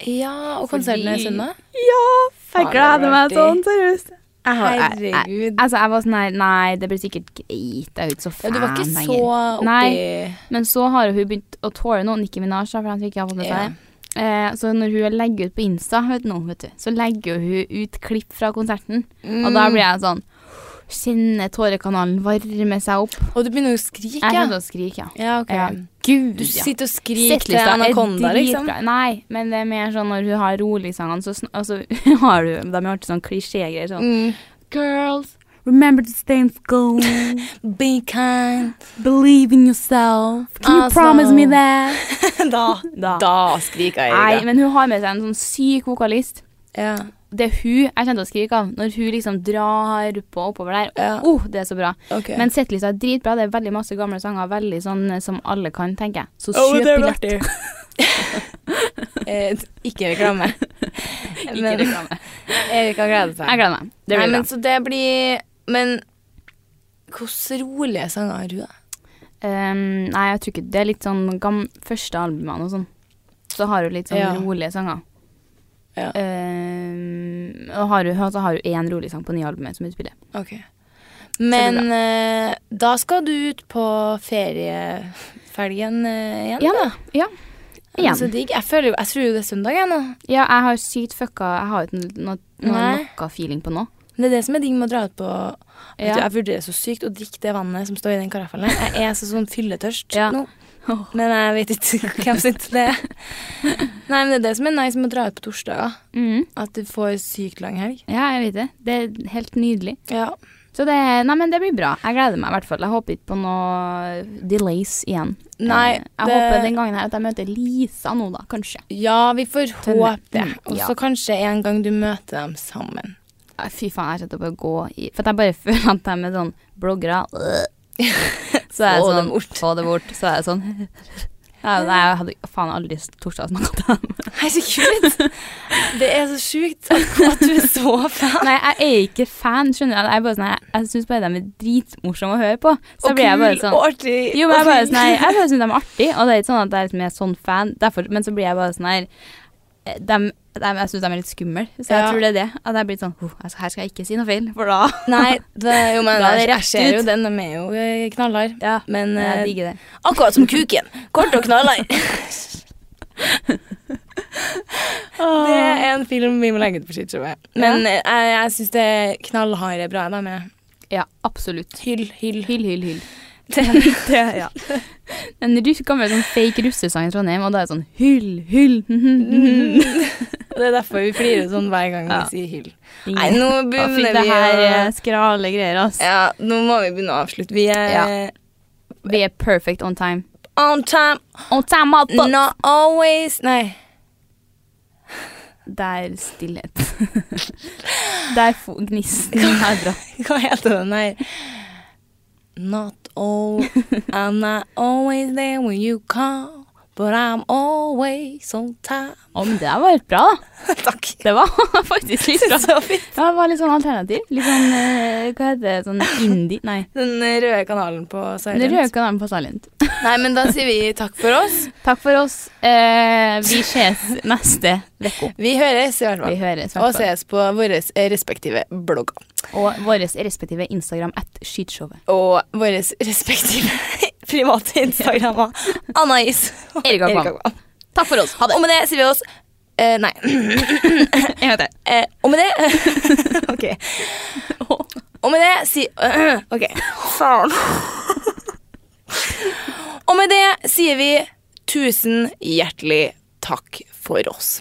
A: Ja, og konserten er
B: Fordi-
A: søndag?
B: Ja!
A: Faen, det blir artig.
B: seriøst. Jeg har, jeg, jeg,
A: Herregud.
B: altså, jeg var sånn her Nei, det blir sikkert greit. Jeg er jo ikke så
A: Ja,
B: fan
A: du var ikke så
B: lenger. Nei.
A: oppi
B: Men så har jo hun begynt å tåle noe, Nicki Minaj, da, for jeg tror ikke jeg har fått med seg det. Eh, så når hun legger ut på Insta, vet du, nå, vet du, så legger jo hun ut klipp fra konserten.
A: Mm.
B: Og da blir jeg sånn Kjenner tårekanalen varme seg opp.
A: Og du begynner å skrike.
B: Jeg kommer til å skrike, ja.
A: Ja, ok.
B: Ja, Gud,
A: Du
B: ja.
A: sitter og skriker til
B: Settlista er
A: Anaconda, liksom.
B: dritbra. Nei, men det er mer sånn når hun har rolig-sangene, så sn- altså, <laughs> har du De har alltid sånn klisjégreier sånn
A: Mm.
B: Girls, remember to stay in school. <laughs>
A: Be kind.
B: Believe in yourself. Can you
A: Altså.
B: promise me that?
A: da,
B: <laughs> Da.
A: skriker
B: Nei, men hun har med seg en sånn syk vokalist.
A: Ja.
B: Det er hun jeg kommer til å skrike av når hun liksom drar på oppover der.
A: Ja.
B: Oh, det er så bra.
A: Ok.
B: Men settlista er dritbra. Det er veldig masse gamle sanger. Veldig sånn eh, som alle kan, tenker jeg. Så
A: Å,
B: kjøp
A: det er
B: billett.
A: artig.
B: <laughs>
A: Eh, ikke reklame.
B: Ikke
A: Men-
B: reklame.
A: Erik har gledet seg.
B: <laughs> Jeg gleder meg.
A: Nei,
B: Det blir bra.
A: men, så det blir Men hvordan rolige sanger har du, da?
B: Ehm, nei, jeg tror ikke det er litt sånn gam første albumene og sånn. Så har hun litt sånn
A: Ja.
B: rolige sanger.
A: Ja.
B: Ehm, og har hun, og så har hun én rolig sang på nye albumet som utspiller.
A: Ok. Men eh, da skal du ut på feriefelgen eh, igjen?
B: Ja da. Ja.
A: Men
B: igjen.
A: Så digg. Jeg, føler, jo- jeg tror jo det er søndag, jeg nå.
B: ja, jeg har sykt fucka Jeg har ikke noe, noe,
A: Nei.
B: noe feeling på nå.
A: Det er det som er digg med å dra ut på Vet du,
B: Ja.
A: Jeg vurderer så sykt å drikke det vannet som står i den karaffelen. her. Jeg er så sånn fylletørst
B: Ja.
A: nå. Men jeg vet ikke <laughs> hvem sitt det er. Nei, men det er det som er nice med å dra ut på torsdager.
B: Mhm.
A: At du får sykt lang helg.
B: ja, jeg vet det. Det er helt nydelig.
A: Ja.
B: Så det, nei, men det blir bra. Jeg gleder meg i hvert fall. Jeg håper ikke på noe delays igjen.
A: Nei,
B: Eh, jeg
A: det-
B: håper den gangen her at jeg møter Lisa nå, da, kanskje.
A: Ja, vi får
B: Tønne.
A: håpe det.
B: Mm,
A: Og
B: ja.
A: så kanskje en gang du møter dem sammen.
B: Eh, Fy faen, jeg setter opp å gå i For at jeg bare <laughs> føler at de er sånn bloggere.
A: <laughs>
B: øh. Så er jeg
A: Få det
B: sånn
A: <laughs>
B: Få det bort. Så er jeg sånn <laughs> Nei, nei, jeg hadde faen aldri torsdag snakket om dem.
A: Herregud! Det er så sjukt at at du er så
B: <laughs>
A: fan.
B: Nei, jeg er ikke fan, skjønner du. Jeg, er bare sånn, her, jeg syns bare de er dritmorsomme å høre på. Så
A: Og
B: blir jeg bare
A: kul
B: sånn
A: og artig.
B: Jo, men jeg
A: og
B: bare
A: flink.
B: sånn her, Jeg bare syns de er artige, og det er ikke sånn at jeg liksom er sånn fan, derfor, men så blir jeg bare sånn her eh, dem- dem- jeg syns de er litt skumle, så jeg
A: Ja.
B: tror det er det. At jeg blir sånn oh, altså, Her skal jeg ikke si noe feil, for da <laughs>
A: Nei, det, jo, men
B: Da er det
A: jeg
B: rett
A: ser jo
B: ut.
A: den. De er jo eh, knallhard.
B: Ja,
A: Men eh,
B: <laughs> jeg digger det.
A: akkurat som kuken. Kort og
B: <laughs>
A: knallhard. <laughs> Det er en film vi må legge ut på sitt showet. Men eh, jeg, jeg syns det knallharde er bra. Da, med
B: eh, Ja, absolutt.
A: hyll, hyll.
B: <laughs> Hyll, hyll, hyll.
A: Det-
B: <laughs> En russ gammel sånn fake russesang i Trondheim, og da er det sånn hyll, hyll <laughs>
A: Mm. <laughs> Det er derfor vi flirer sånn hver gang vi
B: Ja.
A: sier hyll.
B: Ingen-
A: Nei, nå
B: Da fikk
A: begynner
B: det
A: vi
B: her eh,
A: å
B: skrale greier, ass.
A: Ja, nå må vi begynne å avslutte. Vi er
B: Ja. Vi er perfect on time.
A: on time,
B: On time, motherfucker!
A: not always Nei.
B: Der stillhet. <laughs> Der fo- gnisten har dratt.
A: <laughs> Hva heter den her? Not all I'm not always there when you call, but I'm always on time.
B: Å, men det var helt bra, da.
A: <laughs> Takk.
B: Det var <laughs> faktisk litt bra.
A: Så fint.
B: Ja, det var litt sånn alternativ. Litt sånn eh, Hva heter det? Sånn indie Nei.
A: Den røde kanalen på
B: Det
A: Silent.
B: røker den på Silent.
A: Nei, men da sier vi takk for oss.
B: Takk for oss. Eh, vi ses neste uke.
A: Vi høres i hvert
B: Vi
A: fall.
B: høres. i hvert
A: Og
B: fall.
A: ses på våre respektive blogger.
B: Og våre respektive Instagram at skytshowet.
A: og våre respektive <laughs> private Instagrammer. Anais og
B: Erik Akvam. Takk for oss. Ha det.
A: Og med det sier vi oss eh, Nei.
B: En gang til.
A: eh, og med det <laughs> OK. Og med det sier <clears throat> OK. Faen. og med det sier vi tusen hjertelig takk for oss.